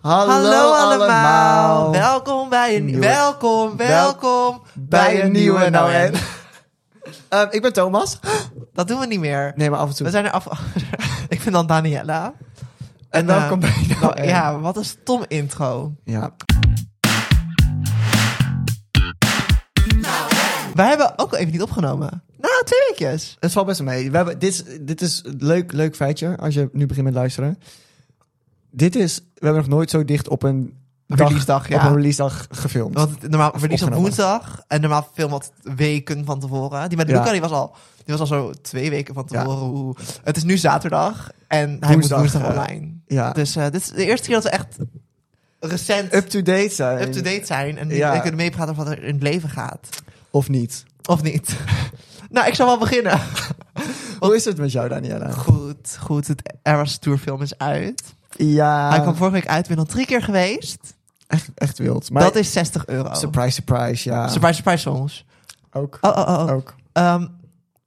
Hallo, allemaal. Welkom bij een Nieuwe- welkom, welkom Bij een nieuwe NON. NON. Ehm, ik ben Thomas. Dat doen we niet meer. Nee, maar af en We toe. zijn er af. ik ben dan Daniela. En welkom eh, bij wel- NON. Ja, wat een stom intro. Ja. Wij hebben ook al even niet opgenomen. Nou, twee weekjes. Het valt best wel mee. We hebben, dit, is, dit is een leuk, leuk feitje, als je nu begint met luisteren. Dit is, we hebben nog nooit zo dicht op een dag, Release dag, op een ja. release dag gefilmd. Want het- normaal verlies op opgenomen. woensdag. En normaal film wat weken van tevoren. Die met Ja. Luca die was, al, die was al zo twee weken van Ja. tevoren. Hoe- Het is nu zaterdag. En hij Woensdag, moet woensdag eh, online. ja. Dus eh, dit is de eerste keer dat we echt recent Up-to-date zijn. up-to-date zijn. En Ja. we kunnen meepraten over wat er in het leven gaat. Of niet. Of niet? nou, ik zal wel beginnen. Hoe is het met jou, Daniela? Goed, goed. Het Eras Tour film is uit. Ah. Ja, Hij kwam vorige week uit. Ik ben al drie keer geweest. echt, echt wild. Maar dat is 60 euro. Surprise, surprise, ja. surprise, surprise soms. Ook. Oh, oh, oh. Ook. Ehm,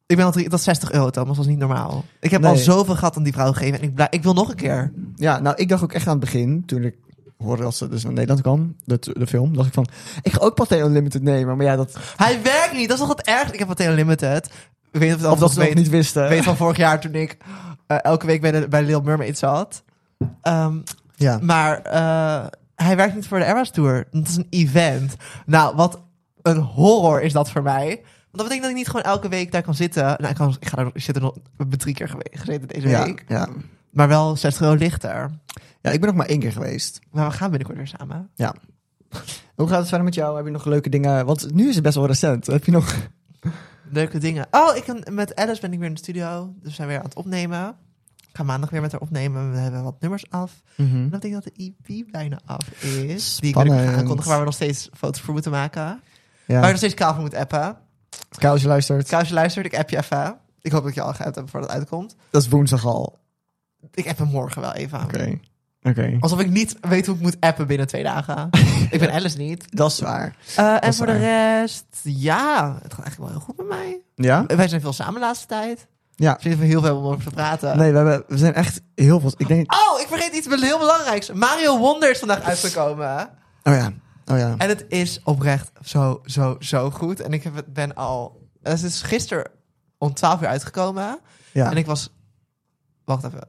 ik ben al drie... Dat is 60 euro, Thomas. Dat is niet normaal. Ik heb Nee. al zoveel gehad aan die vrouw gegeven. En ik, blij- ik wil nog een keer. Ja, nou, ik dacht ook echt aan het begin, toen ik hoorde dat ze dus naar Nederland kwam, de, de film, dacht ik van, ik ga ook Pathé Unlimited nemen. Maar ja, dat, Hij werkt niet. Dat is toch het ergste. Ik heb Pathé Limited. Ik weet niet of het of dat ze nog weet, niet wisten. weet van vorig jaar toen ik eh, elke week bij, de, bij Lil Mermaid zat. Ehm, ja. Maar eh, hij werkt niet voor de Eras Tour. Dat is een event. Nou, wat een horror is dat voor mij. Want dat betekent dat ik niet gewoon elke week daar kan zitten. Nou, ik, kan, ik, ga daar, ik zit er nog ik ben drie keer gewe- gezeten deze Ja, week. ja. Maar wel 60 euro lichter. ja, ik ben nog maar één keer geweest. Maar we gaan binnenkort weer samen. Hoe gaat het verder met jou? Heb je nog leuke dingen? Want nu is het best wel recent. Heb je nog... Leuke dingen. Oh, ik, kan- met Alice ben ik weer in de studio. Dus we zijn weer aan het opnemen. Ik ga maandag weer met haar opnemen. We hebben wat nummers af. En dat betekent dat de EP bijna af is. Die ik binnenkort ga Spannend. aankondigen. Waar we nog steeds foto's voor moeten maken. Waar ik Ja. nog steeds kaal voor moet appen. Kijk, als je luistert. Kous, je luistert, ik app je even. Ik hoop dat ik je al geappt hebt voordat het uitkomt. Dat is woensdag al. Ik app hem morgen wel even. Oké. Oké. Alsof ik niet weet hoe ik moet appen binnen twee dagen. ik ben Alice niet. Dat is waar. Eh, en is voor de rest, ja, het gaat eigenlijk wel heel goed met mij. Ja? Wij zijn veel samen de laatste tijd. Ja. Ik vind er heel veel om over te praten. Nee, we, hebben, we zijn echt heel veel... Ik denk... Oh, ik vergeet iets heel belangrijks. Mario Wonder is vandaag uitgekomen. Oh ja. Oh ja. En het is oprecht zo, zo, zo goed. En ik heb het, ben al... Het is gisteren om 12 uur uitgekomen. ja. En ik was. Wacht even.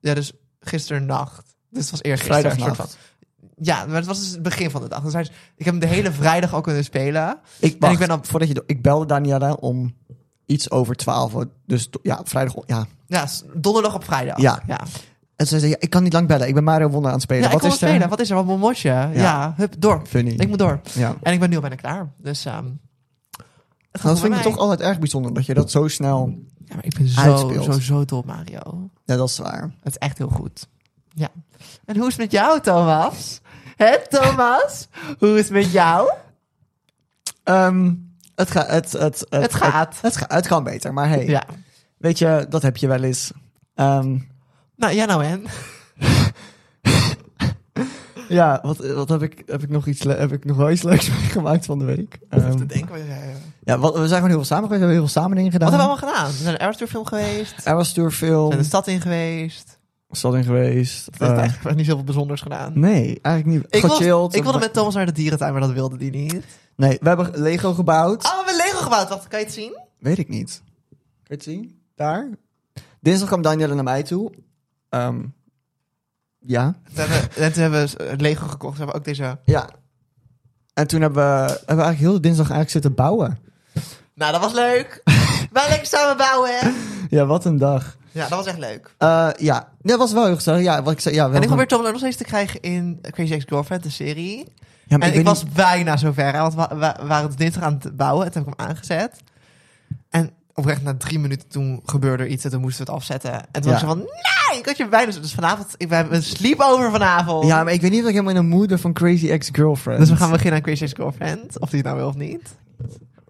Ja, dus gisternacht. Dus het was eerst gisteren. een soort Vrijdagnacht. van- Ja, maar het was dus het begin van de dag. Dus hij is- ik heb hem de hele vrijdag al kunnen spelen. Ik, wacht, ik ben dan- voordat je do- ik belde Daniela om iets over twaalf. Dus to- ja, vrijdag. Ja. Ja, s- donderdag op vrijdag. Ja. ja. En ze zei: ja, Ik kan niet lang bellen. Ik ben Mario Wonder aan het spelen. Ja, ik Wat kon is eh, het spelen. Wat is er? Wat een mosje. Ja. hup, door. Funny. Ik moet door. Ja. En ik ben nu al bijna klaar. Dus ehm, het gaat Dat goed vind bij ik mij. toch altijd erg bijzonder dat je dat zo snel. Ja, maar ik ben zo, uitspeelt. zo, zo dol op Mario. Ja, dat is waar. Het is echt heel goed. Ja. En hoe is het met jou, Thomas? Hé, Thomas? hoe is het met jou? Ehm, het, ga, het, het, het, Het gaat. Het, het, ga- het kan beter, maar hey, Ja. weet je, dat heb je wel eens. Ehm, Nou, ja nou en? ja, wat, wat heb, ik, heb, ik nog iets, le- heb ik nog wel iets leuks meegemaakt van de week? Ehm, te denken. Wat hebben ja, wat, we zijn gewoon heel veel samen geweest, we hebben heel veel samen dingen we gedaan. allemaal gedaan? We zijn een Airstore film geweest. We er was Tourfilm, zijn de stad in geweest. stad in geweest. We hebben eh, eigenlijk niet zoveel bijzonders gedaan. nee, eigenlijk niet. Ik Gechilled. wilde, ik wilde met Thomas naar de dierentuin, maar dat wilde die niet. Nee, we hebben Lego gebouwd. Oh, we hebben Lego gebouwd. Wacht, kan je het zien? Weet ik niet. Kun je het zien? Daar. Dinsdag kwam Danielle naar mij toe. Ehm, ja. We hebben, en toen hebben we eh, Lego gekocht. We hebben ook deze... Ja. En toen hebben we, hebben we eigenlijk heel de dinsdag eigenlijk zitten bouwen. Nou, dat was leuk. Wij lekker samen bouwen. hè? Ja, wat een dag. Ja, dat was echt leuk. Eh, ja, dat was wel heel gezellig. Ja, wat ik zei. Ja, we En ik hebben- probeer Thomas ook nog steeds te krijgen in Crazy Ex-Girlfriend, de serie. ja, maar En ik, weet was niet- bijna zover, hè, want we, we waren het dinsdag aan het bouwen. En toen heb ik hem aangezet. En oprecht na drie minuten toen gebeurde er iets en toen moesten we het afzetten. En Ja. toen was ik van, nee, ik had je bijna... Dus vanavond, ik, we hebben een sleepover vanavond. ja, maar ik weet niet of ik helemaal in de mood ben van Crazy Ex-Girlfriend. Dus we gaan beginnen aan Crazy Ex-Girlfriend, of die het nou wil of niet.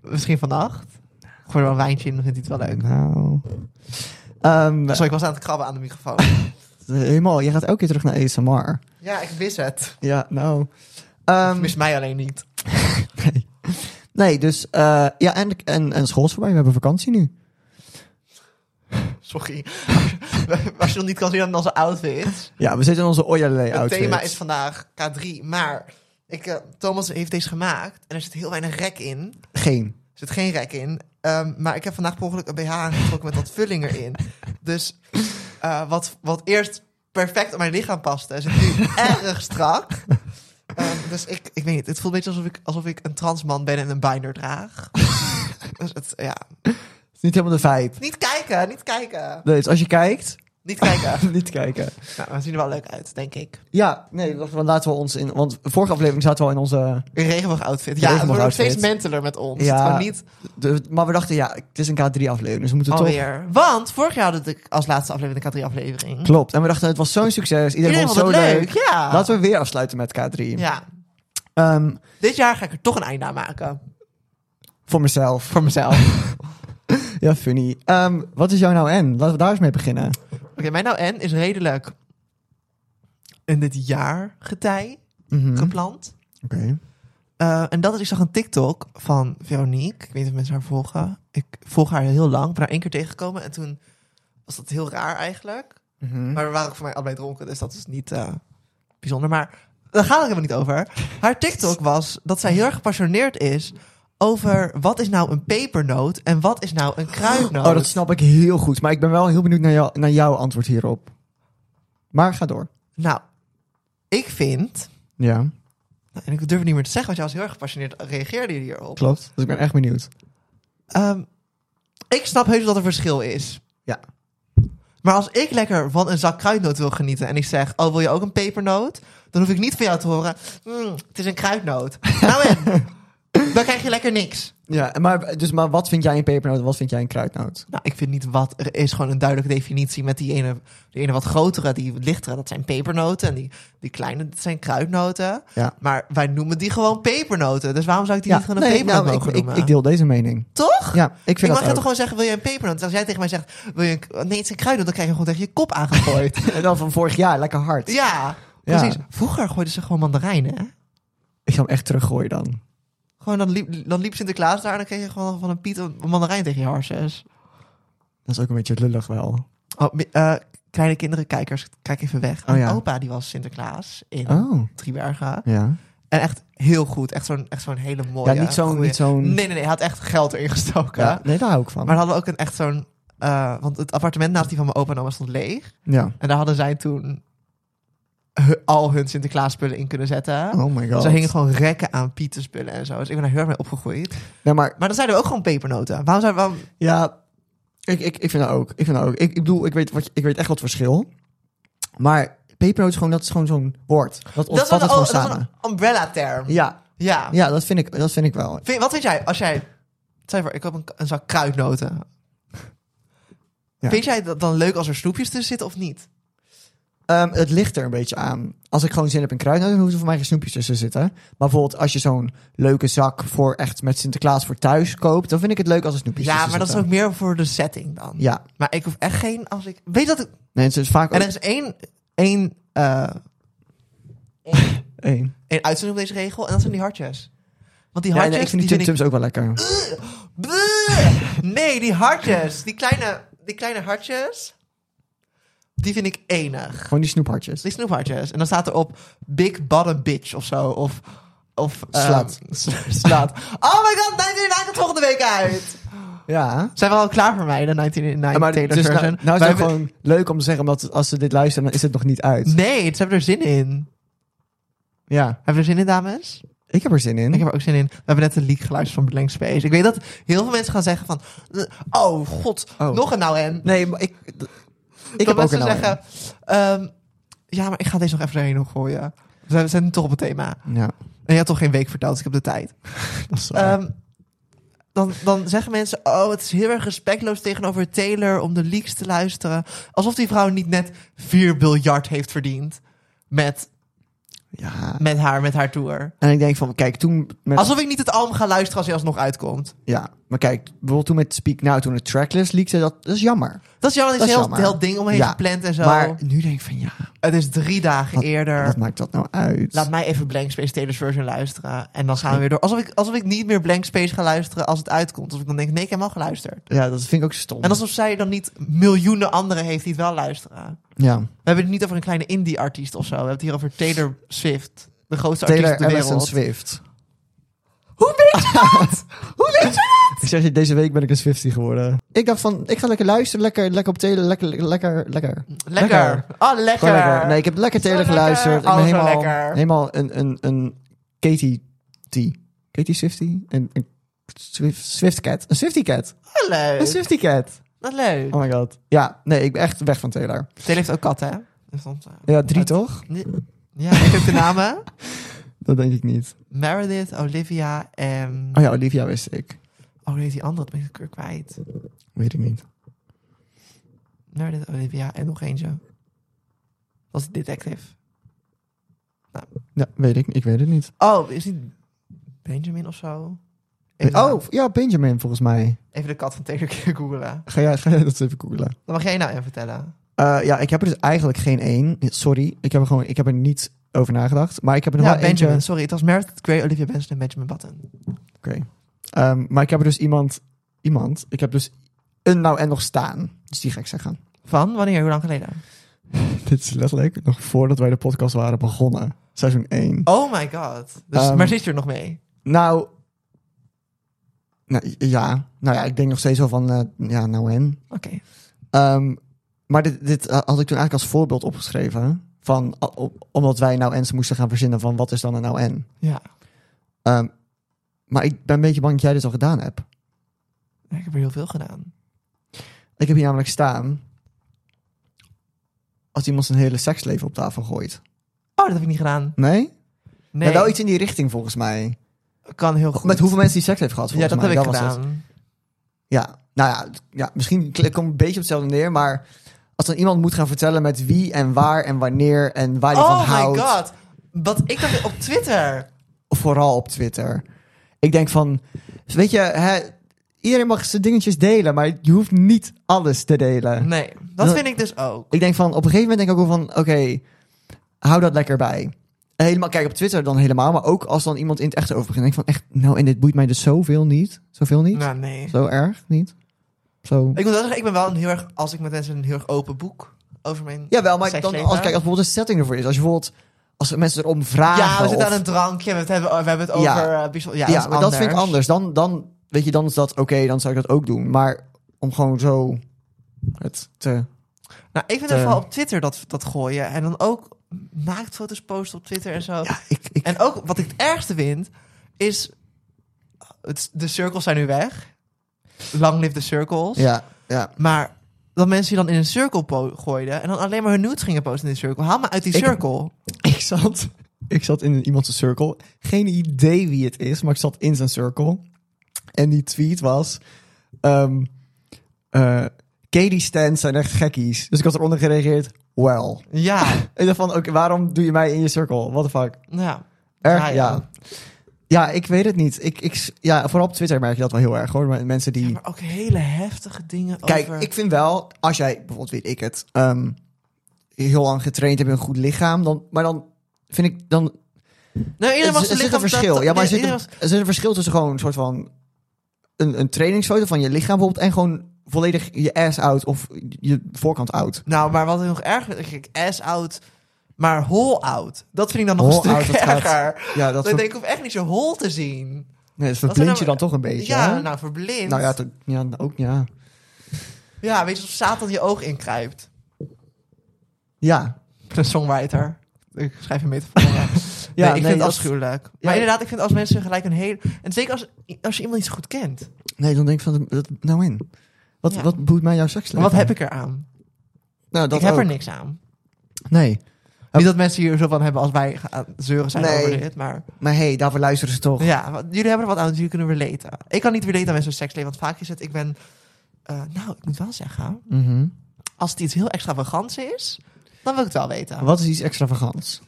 Misschien vannacht. Gooi er wel een wijntje in, dan vindt hij het wel leuk. Nou. Ehm, Sorry, ik was aan het krabben aan de microfoon. helemaal, je gaat elke keer terug naar ASMR. ja, ik mis het. Ja, nou. Ehm, Ik mis mij alleen niet. nee. nee, dus eh, ja, en, en, en school is voorbij. We hebben vakantie nu. Sorry. Als je nog niet kan zien aan onze outfits. Ja, we zitten in onze Oyalele Het outfit. thema is vandaag K3. Maar ik, eh, Thomas heeft deze gemaakt. En er zit heel weinig rek in. Geen. Er zit geen rek in. Ehm, maar ik heb vandaag per ongeluk een BH aangetrokken met wat vulling erin. Dus eh, wat, wat eerst perfect op mijn lichaam paste, zit nu erg strak. Ehm, dus ik, ik weet niet, het voelt een beetje alsof ik, alsof ik een transman ben en een binder draag. dus het, ja. Het is niet helemaal de vibe. Niet kijken, niet kijken. Nee, dus als je kijkt, Niet kijken. niet kijken. nou, we zien er wel leuk uit, denk ik. Ja, nee, wacht, want laten we ons in... Want vorige aflevering zaten we al in onze... Een regenboog outfit. Ja, het wordt ook Regenboogoutfit. steeds menteler met ons. Ja. Het is gewoon niet de- maar we dachten, ja, het is een K3-aflevering, dus we moeten toch... alweer. Want vorig jaar hadden we het als laatste aflevering de K3-aflevering. Klopt. En we dachten, het was zo'n succes. Iedereen, Iedereen vond het zo leuk. ja. Laten we weer afsluiten met K3. Ja. Ehm, Dit jaar ga ik er toch een einde aan maken. voor mezelf. Voor mezelf. Ja, funny. Ehm, wat is jouw nou en? Laten we daar eens mee beginnen. Oké, mijn nou en is redelijk in dit jaargetij Mhm. Oké. gepland. Eh, en dat is, ik zag een TikTok van Veronique. Ik weet niet of mensen haar volgen. Ik volg haar heel lang. Ik ben haar één keer tegengekomen. En toen was dat heel raar eigenlijk. Mhm. Maar we waren ook voor mij allebei dronken. Dus dat is niet eh, bijzonder. Maar daar gaat het helemaal niet over. Haar TikTok was dat zij heel erg gepassioneerd is... over wat is nou een pepernoot en wat is nou een kruidnoot. Oh, dat snap ik heel goed. Maar ik ben wel heel benieuwd naar, jou, naar jouw antwoord hierop. Maar ga door. Nou, ik vind. Ja, nou, En ik durf het niet meer te zeggen, want jij was heel erg gepassioneerd. Reageerde je hierop? klopt. Dus ik ben echt benieuwd. Ehm, ik snap heus wel dat er verschil is. Ja. Maar als ik lekker van een zak kruidnoot wil genieten en ik zeg: Oh, wil je ook een pepernoot? Dan hoef ik niet van jou te horen: "Mm, Het is een kruidnoot. nou, en? Dan krijg je lekker niks. Ja, maar, dus, maar wat vind jij een pepernoot en wat vind jij een kruidnoot? Nou, ik vind niet wat. Er is gewoon een duidelijke definitie met die ene, die ene wat grotere, die lichtere. Dat zijn pepernoten. En die, die kleine, dat zijn kruidnoten. Ja. Maar wij noemen die gewoon pepernoten. Dus waarom zou ik die niet gewoon een nee, pepernoot nou, ik, mogen ik, noemen? ik deel deze mening. Toch? Ja, ik ik vind mag je dat toch gewoon zeggen, wil je een pepernoot? Als jij tegen mij zegt, wil je een, nee, het is een kruidnoot, dan krijg je gewoon tegen je kop aangegooid. En dan van vorig jaar, lekker hard. ja, Ja. precies. Vroeger gooiden ze gewoon mandarijnen, hè? Ik ga hem echt teruggooien dan. Gewoon dan liep, dan liep Sinterklaas daar en dan kreeg je gewoon van een Piet een mandarijn tegen je harses. Dat is ook een beetje lullig wel. Oh, mi- eh, kleine kinderen, kijkers, kijk even weg. Oh, ja. Mijn opa, die was Sinterklaas in Oh, Driebergen. ja. Oh, En echt heel goed. Echt zo'n echt zo'n hele mooie... ja, niet zo'n... goeie- Niet zo'n Nee, nee, nee. Hij had echt geld erin gestoken. ja, nee, daar hou ik van. Maar dan hadden we ook een echt zo'n... eh, want het appartement naast die van mijn opa en oma stond leeg. ja. En daar hadden zij toen hu- al hun Sinterklaas-spullen in kunnen zetten. Oh my god. Ze hingen gewoon rekken aan Pieter-spullen en zo. Dus ik ben daar heel erg mee opgegroeid. Nee, maar Maar dan zeiden we ook gewoon pepernoten. Waarom zouden we... waarom- Ja, ik, ik, ik vind dat ook. Ik, vind dat ook. Ik, ik bedoel, ik weet, wat, je- ik weet echt wat verschil. Maar pepernoot is gewoon, dat is gewoon zo'n woord. Dat Dat is, ontvat wel het gewoon een, oh, dat is samen. een umbrella-term. Ja. Ja, ja dat, vind ik, dat vind ik wel. Vind- wat vind jij als jij... Stel je voor, ik heb een, een zak kruidnoten. Ja. Vind jij dat dan leuk als er snoepjes tussen zitten of niet? Ehm, het ligt er een beetje aan. Als ik gewoon zin heb in kruidnoot, dan hoeven er voor mij geen snoepjes tussen te zitten. Maar bijvoorbeeld als je zo'n leuke zak voor echt met Sinterklaas voor thuis koopt, dan vind ik het leuk als er snoepjes Ja, tussen maar dat is ook zitten. meer voor de setting dan. Ja, Oh. Maar ik hoef echt geen... Als ik, weet dat ik... nee, het is vaak En ook... er is één... één eh, Hey. een uitzending op deze regel. En dat zijn die hartjes. Want die Ja, hartjes... nee, ik vind die die Tim Tums ook wel lekker. Bleh! Nee, die hartjes. Die kleine, die kleine hartjes. Die vind ik enig. Gewoon die snoephartjes. Die snoephartjes. En dan staat erop Big Bottom Bitch of zo. Of... Of, ehm, Slut. s- slut. Oh my god, 1989 komt volgende week uit. Ja. Zijn we al klaar voor mij, de Ja, 1989 maar Taylor dus nou, nou version? is het Wij ook hebben- gewoon leuk om te zeggen, omdat als ze dit luisteren, dan is het nog niet uit. Nee, ze hebben er zin in. Ja. Hebben we er zin in, dames? Ik heb er zin in. Ik heb er ook zin in. We hebben net een leak geluisterd van Blank Space. Ik weet dat heel veel mensen gaan zeggen van... Oh, god, Oh. nog een nou en. Nee, maar ik... d- Ik dat heb ook een mensen zeggen... zeggen... ehm, ja, maar ik ga deze nog even erheen gooien. We zijn, we zijn nu toch op het thema. Ja, En je had toch geen week verteld, dus ik heb de tijd. dat is waar. Ehm, dan, dan zeggen mensen... Oh, het is heel erg respectloos tegenover Taylor... om de leaks te luisteren. Alsof die vrouw niet net 4 biljard heeft verdiend... met, ja. met, haar, met haar tour. En ik denk van, kijk, toen... Met, Alsof ik niet het album ga luisteren als hij alsnog uitkomt. ja. Maar kijk, bijvoorbeeld toen met Speak Now, toen het tracklist leakte, dat, dat is jammer. Dat is jammer, Dat dat is is heel, jammer. heel ding omheen Ja, gepland en zo. Maar nu denk ik van ja, het is drie dagen Wat- eerder. wat maakt dat nou uit? Laat mij even Blank Space Taylor's version luisteren. En dan gaan we weer door. Alsof ik, alsof ik niet meer Blank Space ga luisteren als het uitkomt. Alsof ik dan denk, nee, ik heb hem al geluisterd. Ja, dat vind ik ook stom. En alsof zij dan niet miljoenen anderen heeft die het wel luisteren. ja. We hebben het niet over een kleine indie-artiest of zo. We hebben het hier over Taylor Swift. De grootste Taylor artiest op dus de Allison wereld. Swift. Hoe weet je dat? Hoe weet je Ik zeg je, deze week ben ik een Swiftie geworden. Ik dacht van, ik ga lekker luisteren, lekker, lekker op Taylor, lekker, lekker, lekker. dat? Lekker. Oh, lekker. Gewoon lekker. Nee, ik heb lekker Taylor Zo geluisterd. lekker. Ik ben Oh, zo helemaal, lekker. helemaal een, een, een Katie T. Katie Swiftie? Een, een Swift, Swift Cat. Een Swiftie Cat. Wat Een Oh, leuk. Swiftie Cat. Wat leuk. Oh my god. Ja, nee, ik ben echt weg van Taylor. Taylor heeft ook katten, hè? Dus dan- Ja, drie Wat? toch? Ja, ik heb de namen. Dat denk ik niet. Meredith, Olivia en... Oh ja, Olivia wist ik. Oh nee, die andere, dat ben ik weer kwijt. Weet ik niet. Meredith, Olivia oh, en nog eentje. Dat Was die detective? Ja, weet ik, ik weet het niet. Oh, is die Benjamin of zo? Even de Oh, naam- ja, Benjamin volgens mij. Even de kat van Taylor keer googelen. Ga jij, ga jij dat eens even googlen? Dan mag jij nou even vertellen. Eh, ja, ik heb er dus eigenlijk geen één. Sorry, ik heb er gewoon ik heb er niet over nagedacht. Maar ik heb er nog ja, wel eentje- Nou, Benjamin, sorry. Het was Meredith Grey, Olivia Benson en Benjamin Button. Oké. Ehm, maar ik heb er dus iemand... Iemand? Ik heb dus een nou en nog staan. Dus die ga ik zeggen. Van? Wanneer? Hoe lang geleden? Dit is letterlijk nog voordat wij de podcast waren begonnen. Seizoen 1. Oh my god. Dus, Ehm, maar zit je er nog mee? Nou... Nou, ja. Nou ja, ik denk nog steeds wel van... eh, ja, nou en? Oké. Ehm, maar dit, dit eh, had ik toen eigenlijk als voorbeeld opgeschreven. Van, a- op- omdat wij nou ens moesten gaan verzinnen van wat is dan een nou en. Ja. Ehm, maar ik ben een beetje bang dat jij dit al gedaan hebt. Ja, Ik heb er heel veel gedaan. Ik heb hier namelijk staan. Als iemand zijn hele seksleven op tafel gooit. Oh, dat heb ik niet gedaan. Nee? Nee, Ja, wel iets in die richting volgens mij. kan heel goed. Met hoeveel mensen die seks heeft gehad Ja, volgens dat mij. heb ik was het. gedaan. Ja, nou ja, t- ja misschien kl- komt het een beetje op hetzelfde neer, maar als dan iemand moet gaan vertellen met wie en waar en wanneer en waar hij van Oh houdt. my god. Wat ik dacht op Twitter. vooral op Twitter. Ik denk van, weet je, hè, iedereen mag zijn dingetjes delen, maar je hoeft niet alles te delen. Nee, dat Dat- vind ik dus ook. Ik denk van, op een gegeven moment denk ik ook wel van, oké, hou dat lekker bij. En Helemaal, kijk, op Twitter dan helemaal, maar ook als dan iemand in het echt over begint, denk ik van echt, nou en dit boeit mij dus zoveel niet, zoveel niet, Nou, nee. zo erg niet, zo. Ik moet wel zeggen, ik ben wel een heel erg, als ik met mensen een heel erg open boek over mijn. Jawel, maar dan, als, seksleven. kijk, als bijvoorbeeld een setting ervoor is, als je bijvoorbeeld, als mensen erom vragen Ja, we zitten of- aan een drankje, we het hebben, we hebben het over. Ja. eh, bijzonder- ja, Ja, dat, is maar dat vind ik anders. Dan, dan weet je, dan is dat oké, dan zou ik dat ook doen. Maar om gewoon zo het te... Nou, ik vind Eh. het vooral op Twitter dat, dat gooien. En dan ook naaktfoto's posten op Twitter en zo. Ja, ik, ik, En ook wat ik het ergste vind, is. het- de cirkels zijn nu weg. Lang live de cirkels. ja, ja. Maar dat mensen die dan in een cirkel po- gooiden. en dan alleen maar hun nudes gingen posten in de cirkel. Haal me uit die Ik- cirkel. Ik zat, ik zat in iemands cirkel. Geen idee wie het is, maar ik zat in zijn cirkel. En die tweet was... ehm eh, Katie stands zijn echt gekkies. Dus ik had eronder gereageerd, well. Ja, Ik dacht van, oké, waarom doe je mij in je cirkel? What the fuck? ja. Erg, Ja, ja, ja. ja. ik weet het niet. Ik, ik, ja, vooral op Twitter merk je dat wel heel erg hoor. Maar Mensen die. Maar ook hele heftige dingen Kijk, over... ik vind wel, als jij bijvoorbeeld, weet ik het, ehm, heel lang getraind hebt in een goed lichaam, dan, maar dan vind ik dan. Nou, Er, iedereen mag er zijn zit een lichaam- verschil. dat- ja, maar er zit, iedereen een, was- er zit een verschil tussen gewoon een soort van een, een trainingsfoto van je lichaam bijvoorbeeld en gewoon volledig je ass out of je voorkant out. Nou, maar wat ik nog erger vind, kijk, ass out, maar hol out. Dat vind ik dan nog Hol een out, stuk dat gaat- erger. Ja, dat, Dat ver, ik denk, ik hoef echt niet zo hol te zien. nee, dat zijn verblind nou- je dan toch een beetje. Ja, hè? nou, verblind. nou ja, dat- ja, ook ja. ja, weet je, als Satan je oog inkruipt. Ja, De songwriter. Ik schrijf hem mee te vallen. Ja, nee, ik nee, vind het dat- afschuwelijk. Ja. maar inderdaad, ik vind als mensen gelijk een hele... En zeker als, als je iemand niet zo goed kent. Nee, dan denk ik van, dat, nou in. Wat, Ja. wat boeit mij jouw seksleven? Wat heb ik eraan? Nou, dat ik heb er ook. niks aan. Nee. Niet dat mensen hier zo van hebben als wij gaan zeuren zijn Nee. over dit, maar... Maar hey, daarvoor luisteren ze toch. Ja, want jullie hebben er wat aan, dus jullie kunnen relaten. Ik kan niet relaten aan mensen hun seksleven, want vaak is het, ik ben... eh, nou, ik moet wel zeggen, Mhm. als het iets heel extravagants is, dan wil ik het wel weten. Wat is iets extravagants?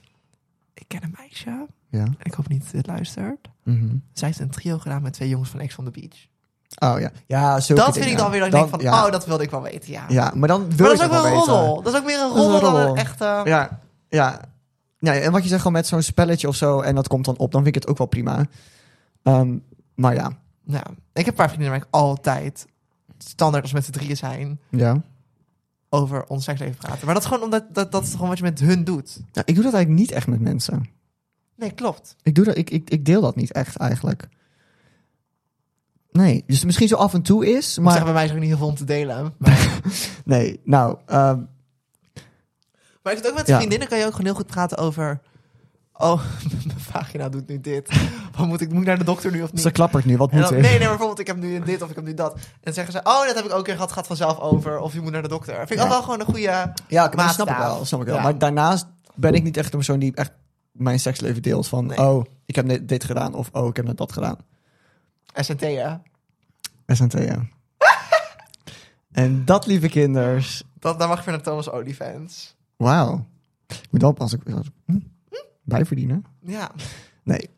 Ik ken een meisje, en Ja. ik hoop niet dat ze dit luistert. Mhm. Zij heeft een trio gedaan met twee jongens van Ex on the Beach. Oh ja. Ja, zulke dat vind ik dingen. dan weer dat ik denk van, ja. oh, dat wilde ik wel weten, ja. Ja, maar dan wil maar ik dat is ook het weer een wel weten. roddel. Dat is ook weer een Dat is een roddel dan een roddel. echte... Ja, ja. ja. En wat je zegt, gewoon met zo'n spelletje of zo, en dat komt dan op, dan vind ik het ook wel prima. Ehm, maar ja. Nou, ik heb een paar vrienden waar ik altijd standaard als we met z'n drieën zijn ja. over ons seksleven praten. Maar dat is gewoon omdat dat, dat is gewoon wat je met hun doet. Nou, ik doe dat eigenlijk niet echt met mensen. Nee, klopt. Ik, doe dat, ik, ik, ik deel dat niet echt eigenlijk. Nee, dus misschien zo af en toe is, Maar maar... zeggen bij mij is er ook niet heel veel om te delen. Maar, Nee, nou, ehm, maar ik zit ook met Ja. vriendinnen kan je ook gewoon heel goed praten over. Oh, mijn vagina doet nu dit. Wat moet ik moet ik naar de dokter nu of niet? ze klappert nu, wat En moet dan, Dus ik? nee, nee, maar bijvoorbeeld ik heb nu dit of ik heb nu dat. En dan zeggen ze, oh, dat heb ik ook een keer gehad, gaat vanzelf over. Of je moet naar de dokter. Vind ik Ja. al wel gewoon een goede... Ja, oké, maar dat Maatstaaf. snap ik wel. Snap ik wel. Ja. Maar daarnaast ben ik niet echt een persoon die echt mijn seksleven deelt. Van, Nee. oh, ik heb dit, dit gedaan of oh, ik heb net dat gedaan. SNT, hè? SNT, ja. en dat, lieve kinders. Dat, daar mag je weer naar Thomas Olifants. Wauw. Ik moet wel pas ik hm? bijverdienen. Ja. Nee.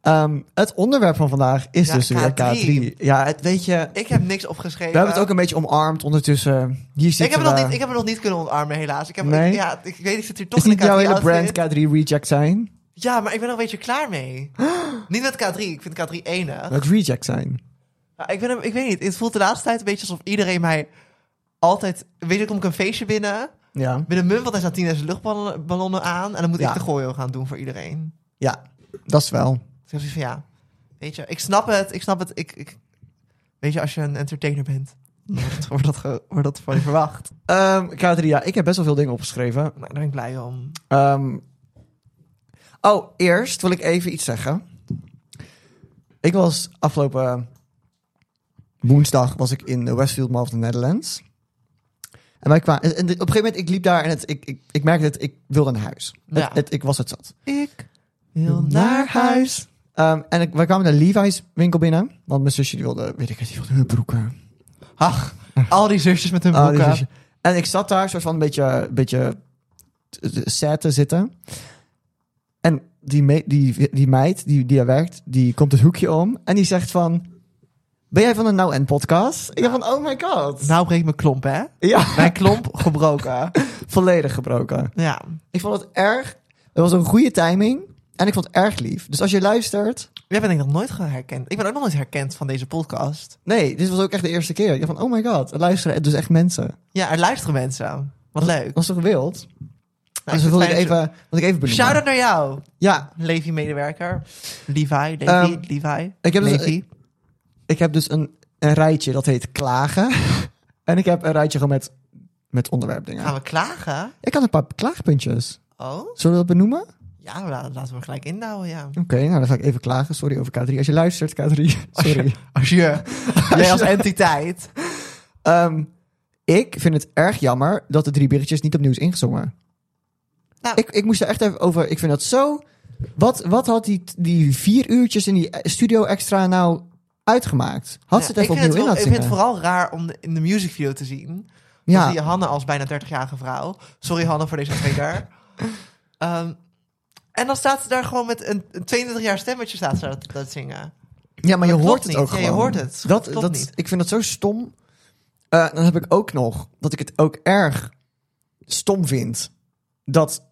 Ehm, het onderwerp van vandaag is Ja, dus weer K3. K3. Ja, het, weet je, Ik heb niks opgeschreven. we hebben het ook een beetje omarmd ondertussen. Hier zitten ik heb, het nog we. niet, ik heb het nog niet kunnen ontarmen, helaas. Ik heb, Nee? ik- ja, ik weet, ik zit hier toch is niet in een jouw K3 hele brand outfit. K3 reject zijn? Ja, maar ik ben er een beetje klaar mee. niet met K3, ik vind K3 enig. Het reject zijn. Maar ik, ben, er- ik weet niet, het voelt de laatste tijd een beetje alsof iedereen mij altijd... Weet je, dan kom ik een feestje binnen... Ja. Binnen mum van Tessa Tina is luchtballonnen ballonnen aan. En dan moet Ja. ik de gooien gaan doen voor iedereen. Ja, dat is wel. Dus ik heb zoiets van ja, weet je, ik snap het, ik snap het. Ik, ik, weet je, als je een entertainer bent, dan wordt dat, wordt dat, ge- wordt dat van je verwacht. Ehm K3, ja, ik heb best wel veel dingen opgeschreven. Nou, daar ben ik blij om. Ehm, oh, eerst wil ik even iets zeggen. Ik was afgelopen woensdag was ik in Westfield Mall of the Netherlands. En, wij kwamen, en en op een gegeven moment, ik liep daar en het, ik, ik, ik merkte het, ik wilde naar huis. Ja. Het, het- ik was het zat. Ik wil naar huis. Ehm, en ik, wij kwamen de Levi's winkel binnen. Want mijn zusje die wilde, weet ik het, die wilde hun broeken. Ach, al die zusjes met hun Ah, die boeken. zusje. En ik zat daar soort van een beetje, beetje t- t- sad te zitten. En die, me- die, die meid die, die daar werkt, die komt het hoekje om en die zegt van... Ben jij van de Nou en podcast? Ik dacht van, oh my god. nou breekt mijn klomp, hè? Ja, Mijn klomp gebroken. volledig gebroken. Ja, Ik vond het erg... Het was een goede timing en ik vond het erg lief. Dus als je luistert... jij bent denk ik nog nooit herkend. Ik ben ook nog nooit herkend van deze podcast. Nee, dit was ook echt de eerste keer. Ik dacht van, oh my god, er luisteren dus echt mensen. Ja, er luisteren mensen. Wat leuk. Dat was toch wild? Nou, dus dat vind wilde het ik fijn dat even, wat ik even je- benoemen. Shout-out naar jou, Ja, Levi-medewerker. Levi, Levi, Ehm, Levi. ik heb dus- Levi. ik heb dus een, een rijtje dat heet klagen. en ik heb een rijtje gewoon met, met onderwerpdingen. Gaan we klagen? Ik had een paar klaagpuntjes. Oh? Zullen we dat benoemen? Oké, Ja, la- laten we gelijk indouwen, ja. nou dan ga ik even klagen. Sorry over K3. Als je luistert, K3. Sorry. Als je, jij als entiteit. Ehm, ik vind het erg jammer dat de drie biertjes niet opnieuw is ingezongen. Nou. Ik, ik moest er echt even over. Ik vind dat zo. Wat, wat had die, die vier uurtjes in die studio extra nou uitgemaakt? Had ze het Ja, even ik vind opnieuw in wel- laten Ik vind het zingen? vooral raar om de- in de music video te zien. Ja. Ja, zie je Hanne als bijna 30-jarige vrouw. Sorry Hanne voor deze trigger. Ehm, en dan staat ze daar gewoon met een, een 22 jaar stemmetje staat ze dat, dat zingen. Ja, maar je Dat hoort klopt het niet. ook Ja, je gewoon. hoort het. Dat, Klopt dat, niet. Ik vind dat zo stom. Eh, dan heb ik ook nog dat ik het ook erg stom vind dat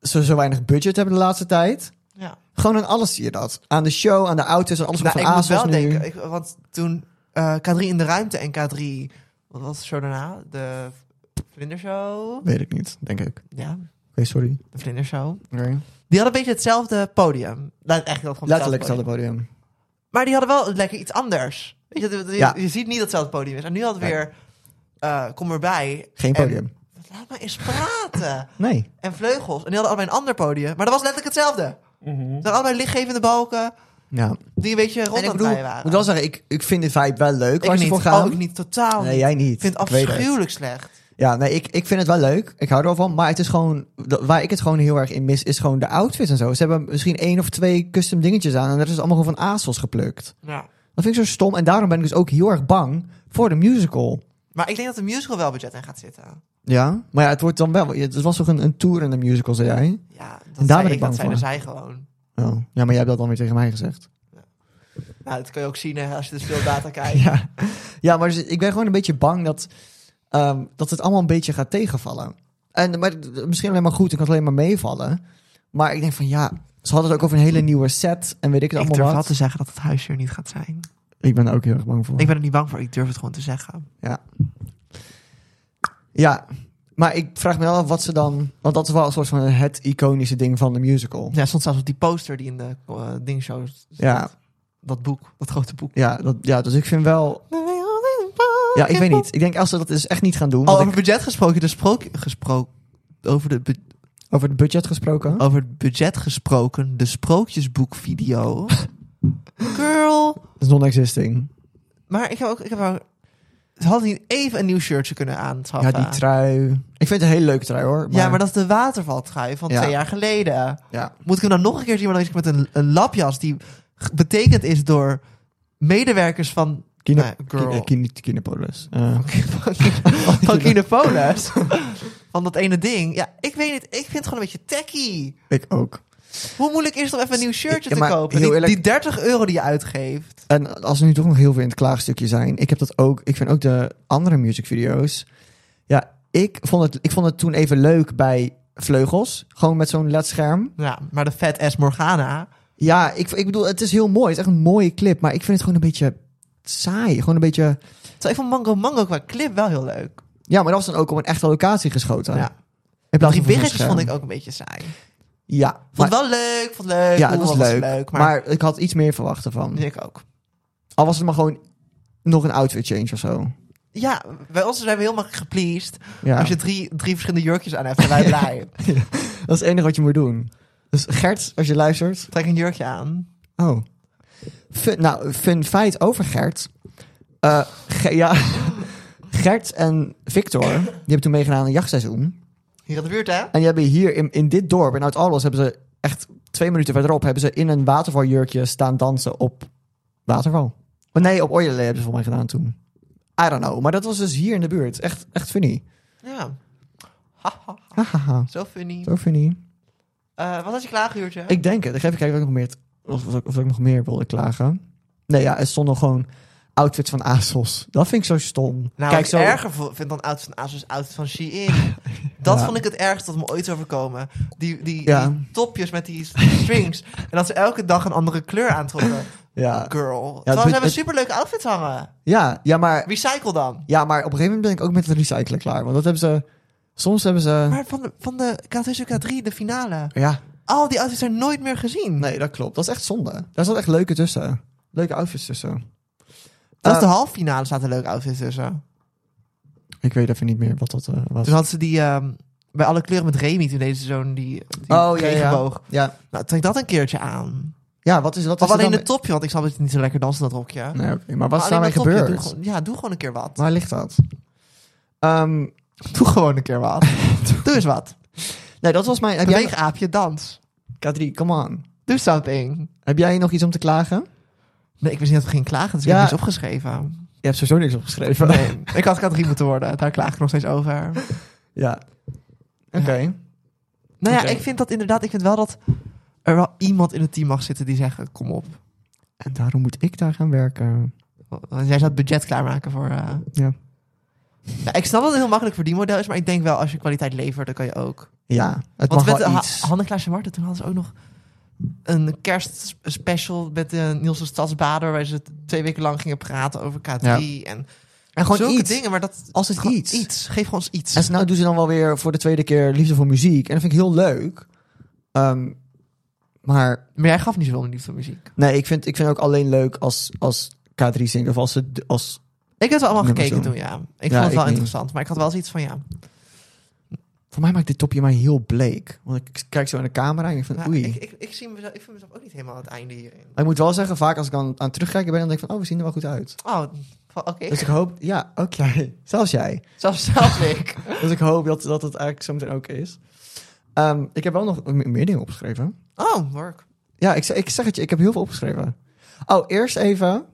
ze zo weinig budget hebben de laatste tijd. Ja. Gewoon aan alles zie je dat. Aan de show, aan de auto's, aan alles wat Nou, ik van moet Aas was wel nu. denken, ik- want toen eh, K3 in de ruimte en K3, wat was de show daarna? De Vlindershow? Weet ik niet, denk ik. Oké, Ja, sorry. de Vlindershow. Oké. Die hadden een beetje hetzelfde podium. Laat echt wel gewoon Letterlijk hetzelfde staat het podium. podium. Maar die hadden wel lekker iets anders. Weet je, je, Ja. je ziet niet dat hetzelfde podium is. En nu hadden we Nee. weer eh, Kom erbij. Geen En- podium. Laat maar eens praten. Nee. en Vleugels. En die hadden allebei een ander podium. Maar dat was letterlijk hetzelfde. Ze hadden allebei lichtgevende balken Ja. die een beetje rond En ik aan het bedoel, draaien ik waren. moet wel zeggen, ik, ik vind de vibe wel leuk ik waar ze niet. voor gaan. Oh, ik niet, totaal Nee, niet. jij niet. Ik vind het weet het. afschuwelijk slecht. Ja, nee, ik, ik vind het wel leuk. Ik hou er wel van. Maar het is gewoon, dat- waar ik het gewoon heel erg in mis, is gewoon de outfits en zo. Ze hebben misschien één of twee custom dingetjes aan. En dat is allemaal gewoon van ASOS geplukt. Ja. Dat vind ik zo stom. En daarom ben ik dus ook heel erg bang voor de musical. Maar ik denk dat de musical wel budget in gaat zitten. Ja, maar ja, het wordt dan wel. Het was toch een, een tour in de musical, zei jij? Ja, dat ben zei ik ik, bang dat zeiden voor. zij gewoon. Oh, ja, maar jij hebt dat dan weer tegen mij gezegd. Ja, Nou, dat kan je ook zien hè, als je de speeldata kijkt. Ja, ja maar dus ik ben gewoon een beetje bang dat, ehm, dat het allemaal een beetje gaat tegenvallen. En, maar d- misschien alleen maar goed, ik kan het alleen maar meevallen. Maar ik denk van ja, ze hadden het ook over een hele nieuwe set en weet ik het ik durf allemaal wel wat. te zeggen dat het huisje er niet gaat zijn. Ik ben daar ook heel erg bang voor. Ik ben er niet bang voor, ik durf het gewoon te zeggen. Ja, maar ik vraag me wel af wat ze dan... Want dat is wel een soort van het iconische ding van de musical. Ja, stond zelfs op die poster die in de eh, dingshow stond. Ja. Dat boek, dat grote boek. Ja, dat, ja dus ik vind wel... Ja, ik weet niet. Ik denk als ze dat dus echt niet gaan doen... Al want over ik- budget gesproken, de sprook, gesproken, over, de, bu- over het budget gesproken. over het budget gesproken, de sprookjesboekvideo. Girl. Dat is non-existing. Maar ik heb ook, ik heb ook, ze hadden niet even een nieuw shirtje kunnen Ja, aanschaffen. die trui. Ik vind het een hele leuke trui hoor. Ja, maar dat is de watervaltrui van Ja. twee jaar geleden. Ja. Moet ik hem dan nog een keer zien, maar dan is het met een, een lapjas die g- betekend is door medewerkers van... Kino, Nee, Ki- eh, girl. Kine- Kinepolis. Eh, van- van Kinepolis. van dat ene ding. Ja, ik weet niet. Ik vind het gewoon een beetje tacky. ik ook. Hoe moeilijk is het om even een nieuw shirtje Ja, te maar kopen? heel Die, eerlijk- die 30 euro die je uitgeeft. En als er nu toch nog heel veel in het klaagstukje zijn. Ik heb dat ook. Ik vind ook de andere musicvideo's. Ja, ik vond het, ik vond het toen even leuk bij Vleugels. Gewoon met zo'n ledscherm. Ja, maar de vet S Morgana. Ja, ik, ik bedoel, het is heel mooi. Het is echt een mooie clip. Maar ik vind het gewoon een beetje saai. Gewoon een beetje... Terwijl ik vond Mango Mango qua clip wel heel leuk. Ja, maar dat was dan ook op een echte locatie geschoten. Ja. In plaats van Die op zo'n biggetjes vond ik scherm. ook een beetje saai. Ja. Vond maar- het wel leuk, vond het leuk. ja, het oeh, was wat leuk. maar... maar, ik had iets meer verwacht ervan. ik ook. Al was het maar gewoon nog een outfit change of zo. Ja, bij ons zijn we helemaal gepleased. Ja. Als je drie, drie verschillende jurkjes aan hebt, zijn wij blij. Dat is het enige wat je moet doen. Dus Gert, als je luistert. Trek een jurkje aan. Oh. Fun, nou, fun feit over Gert. Eh, Ge- ja. Gert en Victor, die hebben toen meegedaan aan een jachtseizoen. Hier in de buurt, hè? En die hebben hier in, in dit dorp, in Oud-Arles, hebben ze echt twee minuten verderop... hebben ze in een watervaljurkje staan dansen op waterval. Maar nee, op Oilerlee hebben ze voor mij gedaan toen. I don't know, maar dat was dus hier in de buurt. Echt, echt funny. Ja. Ha, ha, ha. Hahaha, Zo funny. zo funny. Eh, wat had je klaargehuurd, hè? Ik denk het. Ik ga even kijken of ik nog meer, of, of, of ik nog meer wilde klagen. Nee, ja, er stonden gewoon outfits van ASOS. Dat vind ik zo stom. Nou, Kijk, wat zo... ik erger vo- vind dan Oud van Asus, Oud van Shein. Dat Ja. vond ik het ergst dat me ooit is overkomen. Die, die, Ja. die topjes met die strings. en dat ze elke dag een andere kleur aantrokken. Ja. het Girl. Terwijl be- ze hebben het- superleuke outfits hangen. Ja, ja, maar, Recycle dan. ja, maar op een gegeven moment ben ik ook met het recyclen klaar. Want dat hebben ze... Soms hebben ze... Maar van de, van de K2 K3, de finale. Ja, Al die outfits zijn nooit meer gezien. nee, dat klopt. Dat is echt zonde. Daar zat echt leuke tussen. Leuke outfits tussen. Zelfs de Eh, halve finale zaten leuke outfits tussen. Ik weet even niet meer wat dat eh, was. Toen hadden ze die... ehm, bij alle kleuren met Remy, toen deze zo'n die, die Oh, ja, ja. regenboog. Ja, Nou, trek dat een keertje aan. ja wat is, wat is Of er alleen dan... het topje, want ik zal het niet zo lekker dansen, dat rokje. Nee, oké, maar wat is Maar daarmee alleen dat topje, gebeurd? Doe gewoon, ja, doe gewoon een keer wat. Waar ligt dat? Ehm, Doe gewoon een keer wat. doe eens wat. nee, dat was mijn... Heb Beweeg jij... aapje, dans. K3, come on. Do something. Heb jij nog iets om te klagen? Nee, ik wist niet dat we ging klagen, dus ik Ja. heb niets opgeschreven. Je hebt sowieso niks opgeschreven. Nee, ik had Katrien moeten worden, daar klaag ik nog steeds over. Ja. Oké. Nou ja, Oké. ik vind dat inderdaad, ik vind wel dat er wel iemand in het team mag zitten die zegt, kom op. En daarom moet ik daar gaan werken. Want jij zou het budget klaarmaken voor... eh, Ja. Nou, ik snap dat het heel makkelijk voor die model is, maar ik denk wel als je kwaliteit levert, dan kan je ook. Ja, het Want mag met wel Ha- iets. Hanne Klaas en Marten, toen hadden ze ook nog een kerstspecial met de Nielse Stadsbader, waar ze twee weken lang gingen praten over K3 en, En zulke dingen. Maar dat Als het gewoon iets. Geef gewoon eens iets. En ze- nou doen ze dan wel weer voor de tweede keer liefde voor muziek. En dat vind ik heel leuk. Ehm, maar Maar jij gaf niet zoveel liefde voor muziek. nee, ik vind, ik vind ook alleen leuk als, als K3 zingt. Of als ze... d- Als, Ik heb het allemaal Nummer gekeken zo. toen, ja. Ja, Ik vond het ik wel niet. interessant, maar ik had wel zoiets van, ja. voor mij maakt dit topje mij heel bleek. Want ik kijk zo naar de camera en ik vind... Nou, oei. ik, ik, ik, zie mezelf, ik vind mezelf ook niet helemaal aan het einde hierin. Maar ik moet wel zeggen, vaak als ik dan aan terugkijken ben, dan denk ik van... Oh, we zien er wel goed uit. Oh, van- oké. Dus ik hoop... Ja, ook jij. Zelfs jij. Zelfs, zelfs ik. Dus ik hoop dat, dat het eigenlijk zometeen ook is. Ehm, ik heb wel nog me- meer dingen opgeschreven. Oh, work. Ja, ik, ze- ik zeg het je, ik heb heel veel opgeschreven. Oh, eerst even.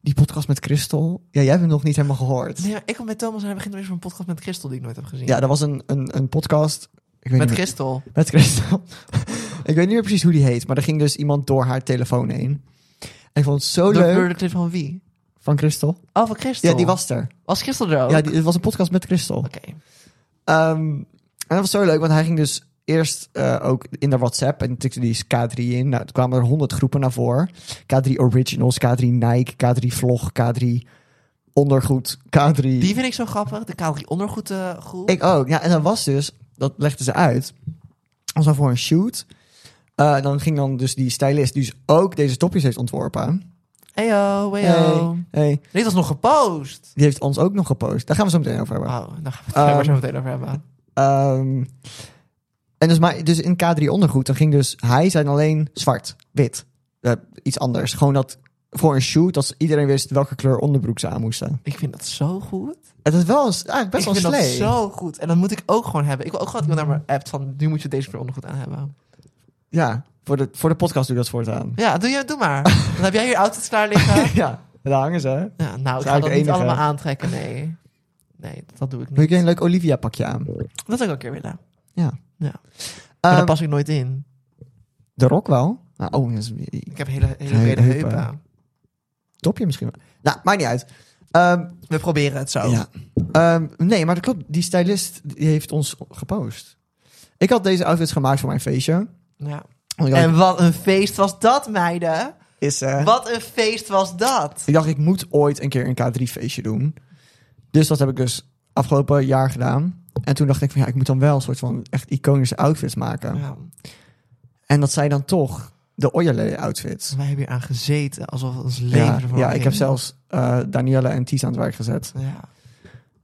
Die podcast met Christel. Ja, jij hebt hem nog niet helemaal gehoord. Nee, maar ik kom met Thomas en hij begint opeens van een podcast met Christel die ik nooit heb gezien. Ja, dat was een, een, een podcast. Ik weet met niet meer- Christel. met Christel. ik weet niet meer precies hoe die heet, maar er ging dus iemand door haar telefoon heen. ik vond het zo Door, leuk. door de clip van wie? Van Christel. Oh, van Christel. Ja, die was er. Was Christel er ook? Ja, die, het was een podcast met Christel. Oké. Ehm, en dat was zo leuk, want hij ging dus eerst eh, ook in de WhatsApp en tikte die K3 in. Nou, toen kwamen er honderd groepen naar voren. K3 Originals, K3 Nike, K3 Vlog, K3 Ondergoed, K3... Die vind ik zo grappig. De K3 ondergoed eh, groep. Ik ook. Ja, en dat was dus, dat legden ze uit, was dan voor een shoot. Eh, dan ging dan dus die stylist, die dus ook deze topjes heeft ontworpen. Heyo, heyo. Hey, hey. Dit was nog gepost. Die heeft ons ook nog gepost. Daar gaan we zo meteen over hebben. Wauw, daar gaan we het Ehm, maar zo meteen over hebben. Ehm, en dus, maar, dus in K3 ondergoed, dan ging dus hij zijn alleen zwart, wit, eh, iets anders. Gewoon dat voor een shoot, dat iedereen wist welke kleur onderbroek ze aan moesten. Ik vind dat zo goed. Het is wel eens- eigenlijk best ik wel vind slee. dat zo goed. En dat moet ik ook gewoon hebben. Ik wil ook gewoon dat iemand naar me appt van... nu moet je deze kleur ondergoed aan hebben. Ja, voor de, voor de podcast doe ik dat voortaan. Ja, doe, je, doe maar. Dan heb jij hier outfits klaar liggen. ja, daar hangen ze. hè. Ja, nou, ik Zou ga ik dat de niet enige? allemaal aantrekken, nee. Nee, dat doe ik Doe niet. ik een leuk Olivia pakje aan. Dat zou ik ook een keer willen. Maar Ehm, daar pas ik nooit in. de rok wel. Nou, oh, dat is- Ik heb hele, hele Hey, brede heupen. heupen. topje misschien wel. Nou, maakt niet uit. Ehm, We proberen het zo. Ja. Ehm, nee, maar dat klopt. Die stylist die heeft ons gepost. Ik had deze outfits gemaakt voor mijn feestje. Ja. Want ik dacht, En wat een feest was dat, meiden. is, eh, Wat een feest was dat. Ik dacht, ik moet ooit een keer een K3-feestje doen. Dus dat heb ik dus afgelopen jaar gedaan. En toen dacht ik van ja, ik moet dan wel een soort van echt iconische outfits maken. Ja. En dat zijn dan toch de Oyerlee outfits. Wij hebben hier aan gezeten, alsof het ons leven Ja, ervan ja ik ging. heb zelfs eh Danielle en Ties aan het werk gezet. Ja.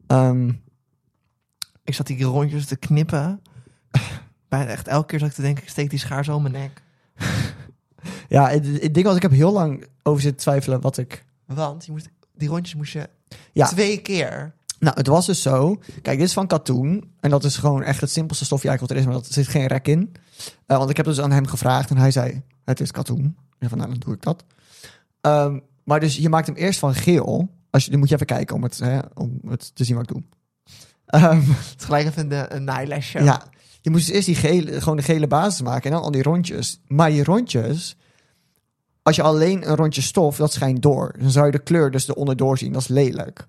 Ehm, Ik zat die rondjes te knippen. Bijna echt elke keer zat ik te denken, ik steek die schaar zo in mijn nek. ja, het, het ding was, ik heb heel lang over zitten twijfelen wat ik... Want je moest, die rondjes moest je Ja. twee keer. Nou, het was dus zo. Kijk, dit is van katoen. En dat is gewoon echt het simpelste stofje eigenlijk wat er is. Maar dat er zit geen rek in. Eh, want ik heb dus aan hem gevraagd. En hij zei, het is katoen. En van, nou, dan doe ik dat. Ehm, maar dus je maakt hem eerst van geel. Als je, dan moet je even kijken om het, hè, om het te zien wat ik doe. Ehm, Het gelijk even een, een naailesje. ja. Je moest dus eerst die gele, gewoon de gele basis maken. En dan al die rondjes. Maar die rondjes... Als je alleen een rondje stof, dat schijnt door. Dan zou je de kleur dus eronder door zien. Dat is lelijk.